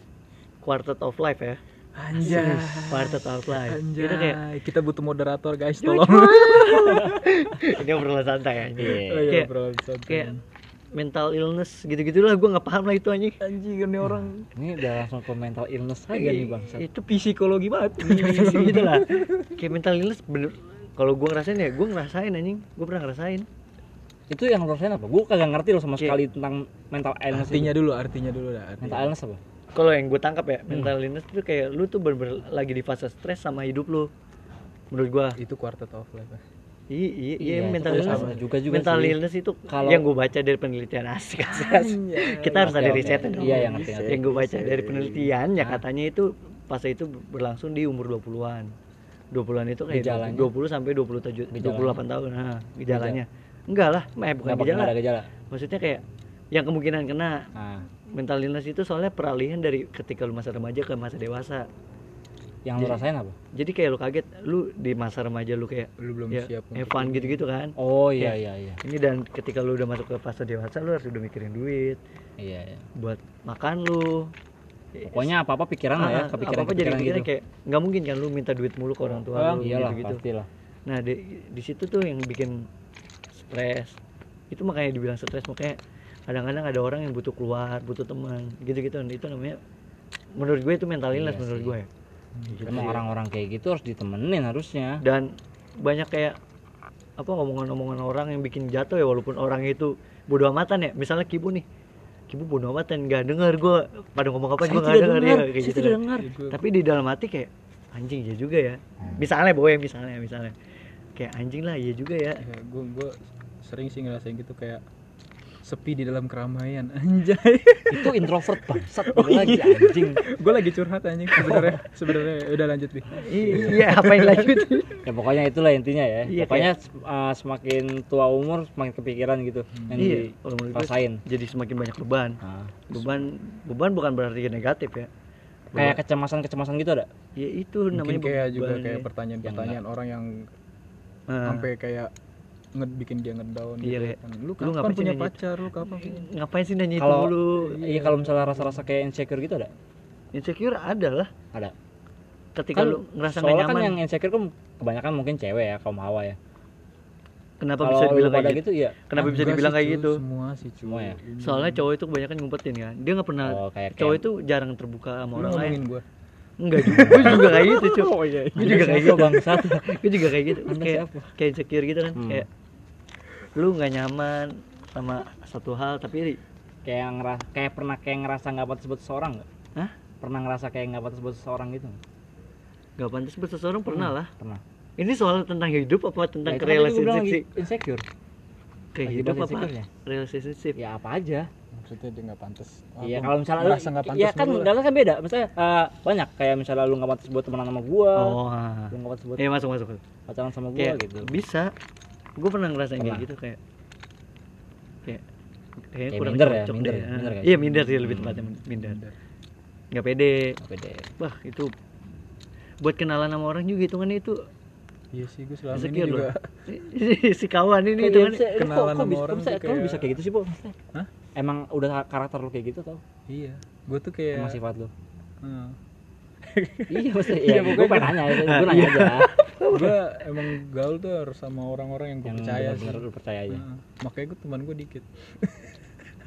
[SPEAKER 2] quartet of life ya
[SPEAKER 1] anjay
[SPEAKER 3] Ah.
[SPEAKER 2] quartet of life
[SPEAKER 1] anjay
[SPEAKER 2] itu kayak
[SPEAKER 1] Iya, kita butuh moderator guys tolong
[SPEAKER 2] ini obrolan santai aja
[SPEAKER 3] Iya.
[SPEAKER 1] Oh, iya,
[SPEAKER 2] Kayak-
[SPEAKER 1] bro, santai.
[SPEAKER 2] kayak mental illness gitu gitulah gue nggak paham lah itu anjing
[SPEAKER 1] anjing ini orang
[SPEAKER 3] ini udah langsung ke mental illness
[SPEAKER 2] Iya.
[SPEAKER 3] aja nih bang Sat.
[SPEAKER 2] itu psikologi banget gitu lah kayak mental illness bener kalau gue ngerasain ya gue ngerasain anjing gue pernah ngerasain
[SPEAKER 3] itu yang lu rasain apa gue kagak ngerti loh sama
[SPEAKER 2] Iya.
[SPEAKER 3] sekali tentang mental illness itu.
[SPEAKER 1] artinya dulu artinya dulu dah artinya.
[SPEAKER 3] mental illness apa
[SPEAKER 2] kalau yang gue tangkap
[SPEAKER 3] Hmm.
[SPEAKER 2] ya mental illness tuh kayak lu tuh bener, -bener lagi di fase stres sama hidup lu menurut gue
[SPEAKER 1] itu quartet of life
[SPEAKER 2] Iya, iya, iya,
[SPEAKER 3] Iya,
[SPEAKER 2] mental
[SPEAKER 3] tapi
[SPEAKER 2] illness.
[SPEAKER 3] sama juga juga
[SPEAKER 2] mental
[SPEAKER 3] sih.
[SPEAKER 2] illness itu
[SPEAKER 3] Kalau- Iya,
[SPEAKER 2] yang gue baca dari penelitian asik asik. asik. Kita harus
[SPEAKER 3] Oke,
[SPEAKER 2] ada
[SPEAKER 3] oke.
[SPEAKER 2] risetnya dong.
[SPEAKER 3] Iya, iya, ngerti, ngerti.
[SPEAKER 2] Yang gue baca dari penelitiannya
[SPEAKER 3] Ah.
[SPEAKER 2] katanya itu fase itu berlangsung di umur 20-an. 20-an itu kayak
[SPEAKER 3] Gejalanya?
[SPEAKER 2] 20 sampai 27
[SPEAKER 3] Gejalanya?
[SPEAKER 2] 28 tahun. Nah, gejalanya. Enggak lah, eh, bukan
[SPEAKER 3] Nggak bakal
[SPEAKER 2] gejala.
[SPEAKER 3] ada gejala.
[SPEAKER 2] Maksudnya kayak yang kemungkinan kena
[SPEAKER 3] Nah,
[SPEAKER 2] mental illness itu soalnya peralihan dari ketika lu masa remaja ke masa dewasa.
[SPEAKER 3] yang
[SPEAKER 2] Iya.
[SPEAKER 3] lu rasain apa?
[SPEAKER 2] Jadi kayak lu kaget, lu di masa remaja lu kayak
[SPEAKER 1] Lu belum
[SPEAKER 2] ya,
[SPEAKER 1] siap untuk
[SPEAKER 2] Evan gitu-gitu kan.
[SPEAKER 3] Oh iya iya iya.
[SPEAKER 2] Ini dan ketika lu udah masuk ke fase dewasa lu harus udah mikirin duit
[SPEAKER 3] Iya iya.
[SPEAKER 2] buat makan lu.
[SPEAKER 3] Pokoknya apa-apa pikiran lah ya,
[SPEAKER 2] Ah,
[SPEAKER 3] kepikiran
[SPEAKER 2] apa-apa jadi
[SPEAKER 3] kepikiran
[SPEAKER 2] pikiran
[SPEAKER 3] gitu.
[SPEAKER 2] kayak nggak mungkin kan lu minta duit mulu ke orang tua
[SPEAKER 3] Oh,
[SPEAKER 2] lu
[SPEAKER 3] iyalah
[SPEAKER 2] gitu-gitu.
[SPEAKER 3] pastilah.
[SPEAKER 2] Nah, di, di situ tuh yang bikin stres. Itu makanya dibilang stres makanya kadang-kadang ada orang yang butuh keluar, butuh teman, gitu-gitu. Nah, Itu namanya menurut gue itu mental illness
[SPEAKER 3] Iya
[SPEAKER 2] menurut
[SPEAKER 3] sih.
[SPEAKER 2] gue ya. Gitu
[SPEAKER 3] Emang
[SPEAKER 1] Iya.
[SPEAKER 2] ya.
[SPEAKER 3] orang-orang kayak gitu harus ditemenin harusnya.
[SPEAKER 2] Dan banyak kayak apa omongan-omongan orang yang bikin jatuh ya walaupun orang itu bodoh amatan ya. Misalnya Kibu nih. Kibu bodoh amatan nggak dengar gue pada ngomong apa gue nggak dengar ya kayak gitu. kan.
[SPEAKER 3] dengar.
[SPEAKER 1] Ya, gua-
[SPEAKER 2] tapi di dalam hati kayak anjing ya juga ya
[SPEAKER 3] Hmm.
[SPEAKER 2] misalnya boy misalnya misalnya kayak anjing lah ya juga ya
[SPEAKER 1] ya, gue gue sering sih ngerasain gitu kayak sepi di dalam keramaian anjay
[SPEAKER 3] Itu introvert
[SPEAKER 2] iya.
[SPEAKER 3] bangsat oh, lagi anjing.
[SPEAKER 1] gue lagi curhat anjing sebenarnya sebenarnya udah lanjut nih
[SPEAKER 2] I- iya apain lanjut
[SPEAKER 3] Ya pokoknya itulah intinya ya.
[SPEAKER 2] Iya,
[SPEAKER 3] pokoknya se- uh, semakin tua umur semakin kepikiran gitu yang
[SPEAKER 2] iya kalau menurut gue
[SPEAKER 3] dirasain.
[SPEAKER 2] jadi semakin banyak beban
[SPEAKER 3] Nah,
[SPEAKER 2] beban beban bukan berarti negatif ya
[SPEAKER 3] kayak kecemasan-kecemasan gitu ada?
[SPEAKER 2] ya itu
[SPEAKER 1] mungkin
[SPEAKER 2] namanya
[SPEAKER 1] kayak juga
[SPEAKER 2] beban
[SPEAKER 1] kayak
[SPEAKER 2] ya.
[SPEAKER 1] pertanyaan-pertanyaan orang yang
[SPEAKER 2] Nah,
[SPEAKER 1] sampai kayak nge bikin dia ngedown
[SPEAKER 2] Iya,
[SPEAKER 1] gitu
[SPEAKER 2] kayak,
[SPEAKER 1] kan. lu
[SPEAKER 2] "Lu
[SPEAKER 1] kapan
[SPEAKER 2] ngapain sih
[SPEAKER 1] punya
[SPEAKER 2] nanya itu?"
[SPEAKER 1] pacar lu kapan punya
[SPEAKER 2] ngapain sih nanya itu
[SPEAKER 3] Kalau-
[SPEAKER 2] dulu
[SPEAKER 3] Iya kalau misalnya rasa-rasa kayak insecure gitu ada?
[SPEAKER 2] insecure ada lah
[SPEAKER 3] Ada.
[SPEAKER 2] ketika
[SPEAKER 3] Kan
[SPEAKER 2] lu ngerasa nggak
[SPEAKER 3] Soalnya
[SPEAKER 2] nyaman
[SPEAKER 3] kan yang insecure kan kebanyakan mungkin cewek ya, kaum hawa ya.
[SPEAKER 2] kenapa
[SPEAKER 3] Kalau
[SPEAKER 2] bisa dibilang
[SPEAKER 3] lu
[SPEAKER 2] kayak
[SPEAKER 3] pada
[SPEAKER 2] gitu,
[SPEAKER 3] gitu iya.
[SPEAKER 2] kenapa
[SPEAKER 1] Ah,
[SPEAKER 2] bisa
[SPEAKER 1] enggak
[SPEAKER 2] dibilang
[SPEAKER 1] sih,
[SPEAKER 2] kayak
[SPEAKER 1] cuy,
[SPEAKER 2] gitu
[SPEAKER 1] semua sih cuy.
[SPEAKER 3] Semua ya?
[SPEAKER 1] Ini.
[SPEAKER 2] soalnya cowok itu kebanyakan ngumpetin kan dia nggak pernah
[SPEAKER 3] Oh, kayak
[SPEAKER 2] cowok
[SPEAKER 3] kayak-
[SPEAKER 2] itu jarang terbuka sama
[SPEAKER 1] Lu
[SPEAKER 2] orang lain
[SPEAKER 1] ngomongin gue
[SPEAKER 2] Enggak juga, gue juga kayak gitu cuy
[SPEAKER 3] Oh,
[SPEAKER 2] Gue
[SPEAKER 3] Anda
[SPEAKER 2] juga kayak
[SPEAKER 3] siapa,
[SPEAKER 2] gitu
[SPEAKER 3] Iya, bangsat?
[SPEAKER 2] Gue juga kayak gitu
[SPEAKER 3] Anda
[SPEAKER 2] Kayak,
[SPEAKER 3] siapa?
[SPEAKER 2] kayak insecure gitu kan
[SPEAKER 3] Hmm.
[SPEAKER 2] Kayak lu gak nyaman sama satu hal tapi
[SPEAKER 3] kayak ngerasa kayak pernah kayak ngerasa nggak pantas buat seseorang nggak?
[SPEAKER 2] Hah?
[SPEAKER 3] Pernah ngerasa kayak nggak pantas buat seseorang gitu? nggak?
[SPEAKER 2] gak pantas buat seseorang pernah lah
[SPEAKER 3] Pernah.
[SPEAKER 2] Ini soal tentang hidup apa tentang
[SPEAKER 3] Hmm. Nah, itu kan tadi gua
[SPEAKER 2] relationship
[SPEAKER 3] bilang
[SPEAKER 2] sih?
[SPEAKER 3] lagi Insecure.
[SPEAKER 2] Kayak
[SPEAKER 3] lagi
[SPEAKER 2] hidup
[SPEAKER 3] bahas
[SPEAKER 2] apa?
[SPEAKER 3] insecure-nya.
[SPEAKER 2] Relationship
[SPEAKER 3] Ya apa aja.
[SPEAKER 1] maksudnya dia nggak pantas Oh,
[SPEAKER 3] Iya
[SPEAKER 1] aku
[SPEAKER 3] kalau misalnya
[SPEAKER 1] merasa nggak pantas
[SPEAKER 3] Iya kan
[SPEAKER 1] mulu lah.
[SPEAKER 3] dalam kan beda. Misalnya eh, banyak kayak misalnya lu nggak pantas buat temenan sama gua.
[SPEAKER 2] Oh ah.
[SPEAKER 3] Lu nggak pantas buat
[SPEAKER 2] Ya masuk masuk
[SPEAKER 3] pacaran sama gua
[SPEAKER 2] Kayak
[SPEAKER 3] gitu.
[SPEAKER 2] bisa Gue pernah ngerasain kayak
[SPEAKER 3] Pernah.
[SPEAKER 2] gitu kayak Kayak Kayaknya
[SPEAKER 3] Kayak
[SPEAKER 2] kurang
[SPEAKER 3] minder ya,
[SPEAKER 2] cocok
[SPEAKER 3] minder
[SPEAKER 2] deh.
[SPEAKER 3] ya, minder
[SPEAKER 2] Ah,
[SPEAKER 3] kayak
[SPEAKER 2] Iya
[SPEAKER 3] gitu.
[SPEAKER 2] minder sih lebih
[SPEAKER 3] Hmm.
[SPEAKER 2] tepatnya minder
[SPEAKER 1] Minder.
[SPEAKER 2] Gak pede
[SPEAKER 3] Oke deh.
[SPEAKER 2] Wah itu buat kenalan sama orang juga hitungannya itu
[SPEAKER 1] iya sih gue selama ini
[SPEAKER 2] insecure loh.
[SPEAKER 1] juga
[SPEAKER 2] si kawan ini
[SPEAKER 3] Kok
[SPEAKER 2] itu
[SPEAKER 3] iya,
[SPEAKER 2] kan
[SPEAKER 3] bisa- kok-
[SPEAKER 1] kenalan
[SPEAKER 3] kok
[SPEAKER 1] sama
[SPEAKER 3] bisa-
[SPEAKER 1] orang
[SPEAKER 3] kok bisa-
[SPEAKER 1] tuh
[SPEAKER 3] kok lu
[SPEAKER 1] kayak-
[SPEAKER 3] bisa kayak gitu sih, Bu? Maksudnya,
[SPEAKER 1] Hah?
[SPEAKER 3] Emang udah karakter lu kayak gitu tau?
[SPEAKER 1] iya gue tuh kayak
[SPEAKER 3] Emang sifat lu?
[SPEAKER 1] Heeh.
[SPEAKER 3] iya maksudnya. Iya, gue pengen nanya, gue nanya aja.
[SPEAKER 1] gue emang gaul tuh harus sama orang-orang yang gue
[SPEAKER 3] Yang
[SPEAKER 1] percaya sih
[SPEAKER 3] bener-bener lu percaya aja.
[SPEAKER 1] Heeh. makanya gue teman gue dikit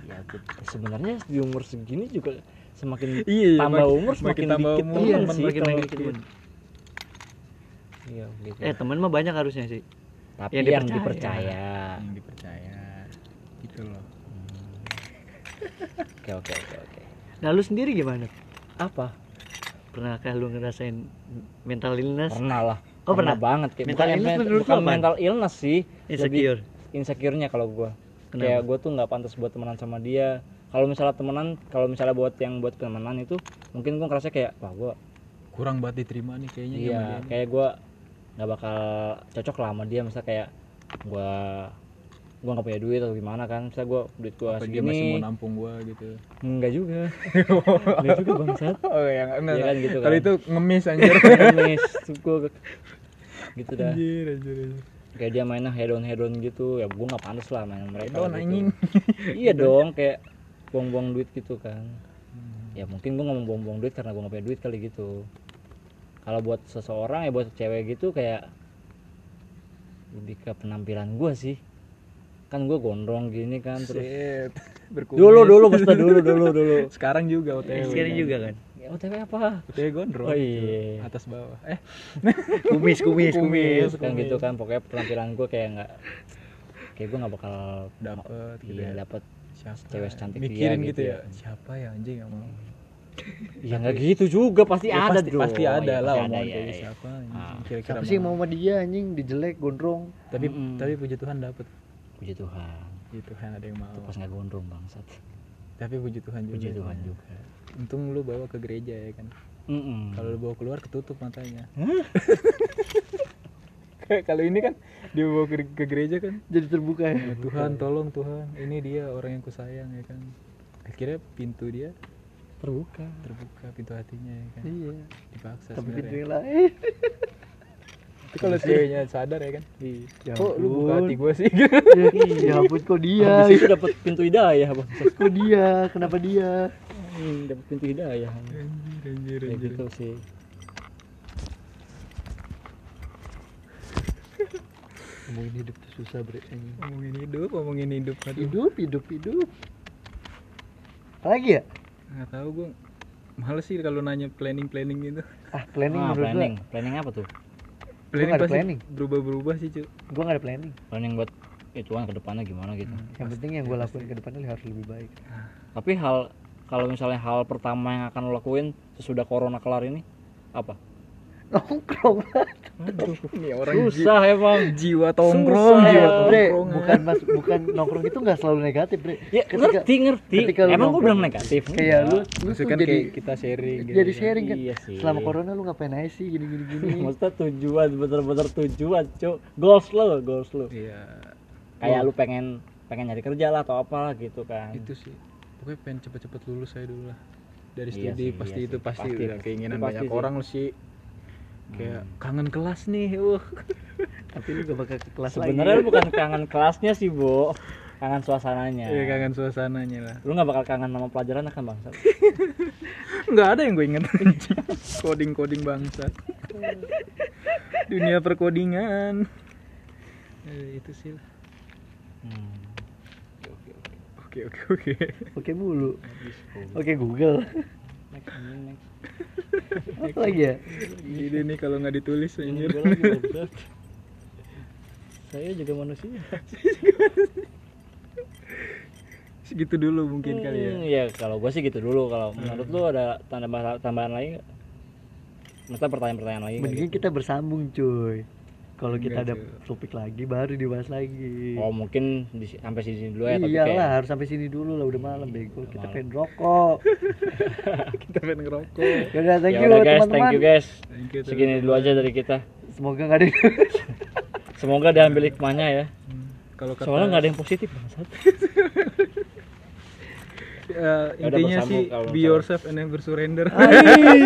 [SPEAKER 3] Ya, tuh, sebenarnya di umur segini juga semakin
[SPEAKER 1] Iya, iya,
[SPEAKER 3] tambah
[SPEAKER 1] makin-
[SPEAKER 3] umur
[SPEAKER 1] makin
[SPEAKER 3] semakin
[SPEAKER 1] tambah
[SPEAKER 3] dikit
[SPEAKER 1] umur,
[SPEAKER 3] temen
[SPEAKER 2] Iya,
[SPEAKER 3] sih.
[SPEAKER 2] makin
[SPEAKER 1] kalau
[SPEAKER 2] banyak
[SPEAKER 1] gitu.
[SPEAKER 2] teman.
[SPEAKER 3] Iya, gitu.
[SPEAKER 2] Eh teman mah banyak harusnya sih.
[SPEAKER 3] Tapi
[SPEAKER 2] yang
[SPEAKER 3] yang
[SPEAKER 2] dipercaya.
[SPEAKER 3] dipercaya.
[SPEAKER 1] yang dipercaya gitu loh
[SPEAKER 3] Oke, oke, oke, oke.
[SPEAKER 2] Nah lu sendiri gimana?
[SPEAKER 3] Apa?
[SPEAKER 2] Pernahkah lu ngerasain mental illness?
[SPEAKER 3] Pernah lah.
[SPEAKER 2] Oh, pernah? Iya,
[SPEAKER 3] banget kayak
[SPEAKER 2] Mental
[SPEAKER 3] bukan,
[SPEAKER 2] illness
[SPEAKER 3] men-
[SPEAKER 2] menurut
[SPEAKER 3] bukan
[SPEAKER 2] lu apaan?
[SPEAKER 3] mental illness sih.
[SPEAKER 2] Insecure.
[SPEAKER 3] Lebih insecure-nya kalau gua.
[SPEAKER 2] Kenapa?
[SPEAKER 3] Kayak gua tuh nggak pantas buat temenan sama dia. Kalau misalnya temenan, kalau misalnya buat yang buat temenan itu mungkin gua ngerasa kayak wah gua
[SPEAKER 1] kurang banget diterima nih kayaknya
[SPEAKER 3] iya,
[SPEAKER 1] sama dia.
[SPEAKER 3] kayak gua nggak bakal cocok lah sama dia misalnya kayak gua gua nggak punya duit atau gimana kan misalnya gua duit gua
[SPEAKER 1] apa dia masih mau
[SPEAKER 3] segini
[SPEAKER 1] nampung gue gitu
[SPEAKER 3] enggak juga enggak juga bangsat
[SPEAKER 1] oh ya enggak
[SPEAKER 3] Iya kan gitu
[SPEAKER 1] kalau
[SPEAKER 3] kan.
[SPEAKER 1] itu ngemis anjir
[SPEAKER 3] ngemis Terus gua gitu dah
[SPEAKER 1] anjir anjir anjir.
[SPEAKER 3] kayak dia mainnya head on head on gitu ya gua nggak pantas lah main sama mereka
[SPEAKER 1] Head on,
[SPEAKER 3] gitu.
[SPEAKER 1] anjing.
[SPEAKER 3] iya dong kayak buang-buang duit gitu kan ya mungkin gua ngomong buang-buang duit karena gua nggak punya duit kali gitu kalau buat seseorang ya buat cewek gitu kayak lebih ke penampilan gua sih kan gua gondrong gini kan terus
[SPEAKER 1] Shit. Berkumis.
[SPEAKER 3] dulu dulu mesti dulu dulu dulu
[SPEAKER 1] sekarang juga
[SPEAKER 2] Eh,
[SPEAKER 1] OTW
[SPEAKER 2] Sekarang juga kan.
[SPEAKER 3] ya, OTW apa
[SPEAKER 1] OTW gondrong
[SPEAKER 3] Oh, iya.
[SPEAKER 1] atas bawah eh
[SPEAKER 2] Kumis kumis
[SPEAKER 1] Kumis.
[SPEAKER 2] kumis.
[SPEAKER 3] kan gitu kan pokoknya penampilan gua kayak nggak kayak gua nggak bakal
[SPEAKER 1] Dapet gitu
[SPEAKER 3] iya,
[SPEAKER 1] ya.
[SPEAKER 3] dapet
[SPEAKER 1] siapa
[SPEAKER 3] Cewek secantik dia
[SPEAKER 1] mikirin
[SPEAKER 3] gitu
[SPEAKER 1] gitu
[SPEAKER 3] ya.
[SPEAKER 1] ya siapa ya anjing yang mau
[SPEAKER 3] ya nggak gitu juga pasti
[SPEAKER 1] Ya,
[SPEAKER 3] ada
[SPEAKER 1] pasti,
[SPEAKER 3] dong.
[SPEAKER 1] pasti ada
[SPEAKER 3] Ya,
[SPEAKER 1] lah
[SPEAKER 3] pasti
[SPEAKER 1] omongan
[SPEAKER 3] ada,
[SPEAKER 1] kayak gitu.
[SPEAKER 3] ya, ya.
[SPEAKER 1] siapa
[SPEAKER 3] Ah.
[SPEAKER 1] kira-kira
[SPEAKER 2] Siapa sih
[SPEAKER 1] mau.
[SPEAKER 2] mau sama dia anjing dijelek gondrong.
[SPEAKER 1] tapi
[SPEAKER 3] Mm-mm.
[SPEAKER 1] tapi puji Tuhan dapat
[SPEAKER 3] puji Tuhan
[SPEAKER 1] puji Tuhan ada yang mau
[SPEAKER 3] itu pas nggak gondrong bangsat
[SPEAKER 1] tapi puji Tuhan juga
[SPEAKER 3] puji Tuhan juga Hmm.
[SPEAKER 1] untung lu bawa ke gereja ya kan
[SPEAKER 3] Mm-mm.
[SPEAKER 1] kalau lu bawa keluar ketutup matanya Kayak kalau ini kan dia bawa ke, ke gereja kan
[SPEAKER 2] Jadi terbuka ya.
[SPEAKER 1] Ya, Tuhan tolong Tuhan ini dia orang yang kusayang ya kan akhirnya pintu dia
[SPEAKER 3] terbuka
[SPEAKER 1] terbuka pintu hatinya ya kan
[SPEAKER 2] Iya.
[SPEAKER 1] dipaksa
[SPEAKER 2] Tapi
[SPEAKER 1] sebenarnya
[SPEAKER 2] pintunya lain.
[SPEAKER 1] tapi kalau ceweknya sadar ya kan "Ih,
[SPEAKER 2] Ya
[SPEAKER 1] kok lu buka
[SPEAKER 2] ampun.
[SPEAKER 1] hati gue sih
[SPEAKER 2] ya ampun kok dia.
[SPEAKER 3] habis itu dapat pintu hidayah bang
[SPEAKER 2] kok dia? Kenapa dia?
[SPEAKER 3] dapat pintu hidayah
[SPEAKER 1] anjir anjir
[SPEAKER 3] ya
[SPEAKER 1] anjir
[SPEAKER 3] gitu sih
[SPEAKER 2] Ngomongin hidup tuh susah bre anjing.
[SPEAKER 1] ngomongin hidup ngomongin hidup aduh
[SPEAKER 2] Hidup, hidup, hidup. Lagi ya?
[SPEAKER 1] nggak tahu gue males sih kalau nanya planning planning gitu
[SPEAKER 2] Ah, planning
[SPEAKER 3] Ah,
[SPEAKER 2] menurut
[SPEAKER 3] planning planning apa tuh
[SPEAKER 1] planning
[SPEAKER 2] nggak ada
[SPEAKER 1] pasti
[SPEAKER 2] planning.
[SPEAKER 1] berubah berubah sih cuy
[SPEAKER 2] gua. Gua gak ada planning.
[SPEAKER 3] planning buat ya Tuhan kedepannya gimana gitu
[SPEAKER 2] Yang penting yang gua lakuin ke depannya harus lebih baik.
[SPEAKER 3] tapi hal kalau misalnya hal pertama yang akan lo lakuin sesudah corona kelar ini apa
[SPEAKER 2] Nongkrong.
[SPEAKER 1] aduh ini orang ji-
[SPEAKER 3] susah emang
[SPEAKER 1] jiwa tongkrong
[SPEAKER 3] Susah.
[SPEAKER 1] jiwa
[SPEAKER 2] Bre,
[SPEAKER 1] tongkrongan.
[SPEAKER 2] bukan mas, bukan nongkrong itu nggak selalu negatif, Bre.
[SPEAKER 3] ya
[SPEAKER 2] Ketika-
[SPEAKER 3] ngerti ngerti
[SPEAKER 2] ketika lu
[SPEAKER 3] emang gue
[SPEAKER 2] nongkrong.
[SPEAKER 3] bilang negatif
[SPEAKER 2] Kayak lu, lu tuh
[SPEAKER 1] maksudnya kan
[SPEAKER 2] jadi
[SPEAKER 1] kayak kita sharing gitu
[SPEAKER 2] jadi
[SPEAKER 1] kan.
[SPEAKER 2] sharing kan.
[SPEAKER 3] Iya sih.
[SPEAKER 2] Selama corona lu ngapain aja sih gini gini gini.
[SPEAKER 3] Iya,
[SPEAKER 1] Hmm.
[SPEAKER 3] Maksudnya tujuan, bener-bener tujuan, cuk. Goals lo, goals lo.
[SPEAKER 1] iya
[SPEAKER 3] Kayak lu pengen pengen nyari kerja lah atau apalah gitu kan.
[SPEAKER 1] itu sih pokoknya pengen cepet-cepet lulus saya dulu lah dari
[SPEAKER 3] Iya
[SPEAKER 1] studi
[SPEAKER 3] sih, iya
[SPEAKER 1] pasti
[SPEAKER 3] sih.
[SPEAKER 1] itu pasti,
[SPEAKER 3] Pasti,
[SPEAKER 1] udah
[SPEAKER 3] pasti.
[SPEAKER 1] keinginan
[SPEAKER 3] Itu pasti
[SPEAKER 1] banyak
[SPEAKER 3] sih.
[SPEAKER 1] orang sih kayak kangen kelas nih uh. wah
[SPEAKER 2] Tapi lu gak bakal ke kelas
[SPEAKER 3] Sebenarnya lu
[SPEAKER 2] lagi.
[SPEAKER 3] bukan kangen kelasnya sih, Bo. Kangen suasananya.
[SPEAKER 1] Iya, kangen suasananya lah
[SPEAKER 3] Lu nggak bakal kangen sama pelajaran kan, Bang?
[SPEAKER 1] nggak ada yang gue inget coding coding bangsa dunia perkodingan Eh, itu sih lah.
[SPEAKER 3] Hmm.
[SPEAKER 1] oke oke oke
[SPEAKER 2] Oke mulu. Oke Google.
[SPEAKER 3] Next, anjing, next.
[SPEAKER 2] Apa lagi ya?
[SPEAKER 1] ini nih kalau nggak ditulis
[SPEAKER 3] Ini
[SPEAKER 1] anjir
[SPEAKER 3] gua lagi, goblok. Saya juga manusia.
[SPEAKER 1] segitu dulu mungkin kali ya Hmm.
[SPEAKER 3] Hmm, kalau gua sih gitu dulu. Kalau menurut lu ada tanda tambahan lagi? nggak? Maksudnya pertanyaan-pertanyaan lagi? nggak
[SPEAKER 2] Mendingan
[SPEAKER 3] gitu? Iya,
[SPEAKER 2] kita bersambung cuy. Kalau kita ada
[SPEAKER 1] Enggak,
[SPEAKER 2] topik lagi baru dibahas lagi.
[SPEAKER 3] Oh mungkin di, sampai sini dulu ya tapi
[SPEAKER 1] Iya
[SPEAKER 2] Iyalah
[SPEAKER 3] kayak
[SPEAKER 2] harus sampai sini dulu lah udah malam bego
[SPEAKER 3] udah
[SPEAKER 2] kita
[SPEAKER 3] malam.
[SPEAKER 2] pengen rokok.
[SPEAKER 1] kita pengen ngerokok
[SPEAKER 2] Yaudah thank
[SPEAKER 3] ya
[SPEAKER 2] you
[SPEAKER 3] udah guys, thank
[SPEAKER 2] teman-teman.
[SPEAKER 3] you guys.
[SPEAKER 1] Thank you,
[SPEAKER 3] Segini dulu aja dari kita.
[SPEAKER 2] Semoga nggak ada.
[SPEAKER 3] Semoga diambil hikmahnya ya.
[SPEAKER 1] Hmm, kalau kata
[SPEAKER 3] Soalnya nggak ada yang positif bangsat.
[SPEAKER 1] Eh,
[SPEAKER 3] Ya udah,
[SPEAKER 1] intinya
[SPEAKER 3] bersambung
[SPEAKER 1] sih
[SPEAKER 3] kalau Ah,
[SPEAKER 1] be
[SPEAKER 3] misalnya.
[SPEAKER 1] yourself and never surrender
[SPEAKER 3] iya.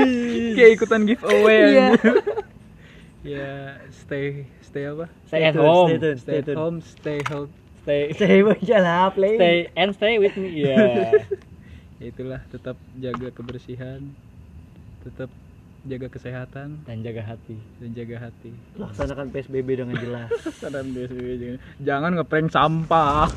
[SPEAKER 1] kayak ikutan giveaway
[SPEAKER 2] Iya.
[SPEAKER 1] anjir. ya stay stay apa
[SPEAKER 3] Stay at
[SPEAKER 2] tuned,
[SPEAKER 3] home.
[SPEAKER 2] Stay
[SPEAKER 1] stay
[SPEAKER 2] tuned, stay
[SPEAKER 1] at
[SPEAKER 2] tuned.
[SPEAKER 1] home stay healthy
[SPEAKER 3] Stay
[SPEAKER 2] Stay aja lah play.
[SPEAKER 3] stay and stay with me. Iya.
[SPEAKER 1] Ya itulah tetap jaga kebersihan tetap jaga kesehatan
[SPEAKER 3] Dan jaga hati.
[SPEAKER 1] dan jaga hati
[SPEAKER 2] Laksanakan PSBB dengan jelas.
[SPEAKER 1] Saran BSBB juga. jangan ngeprank sampah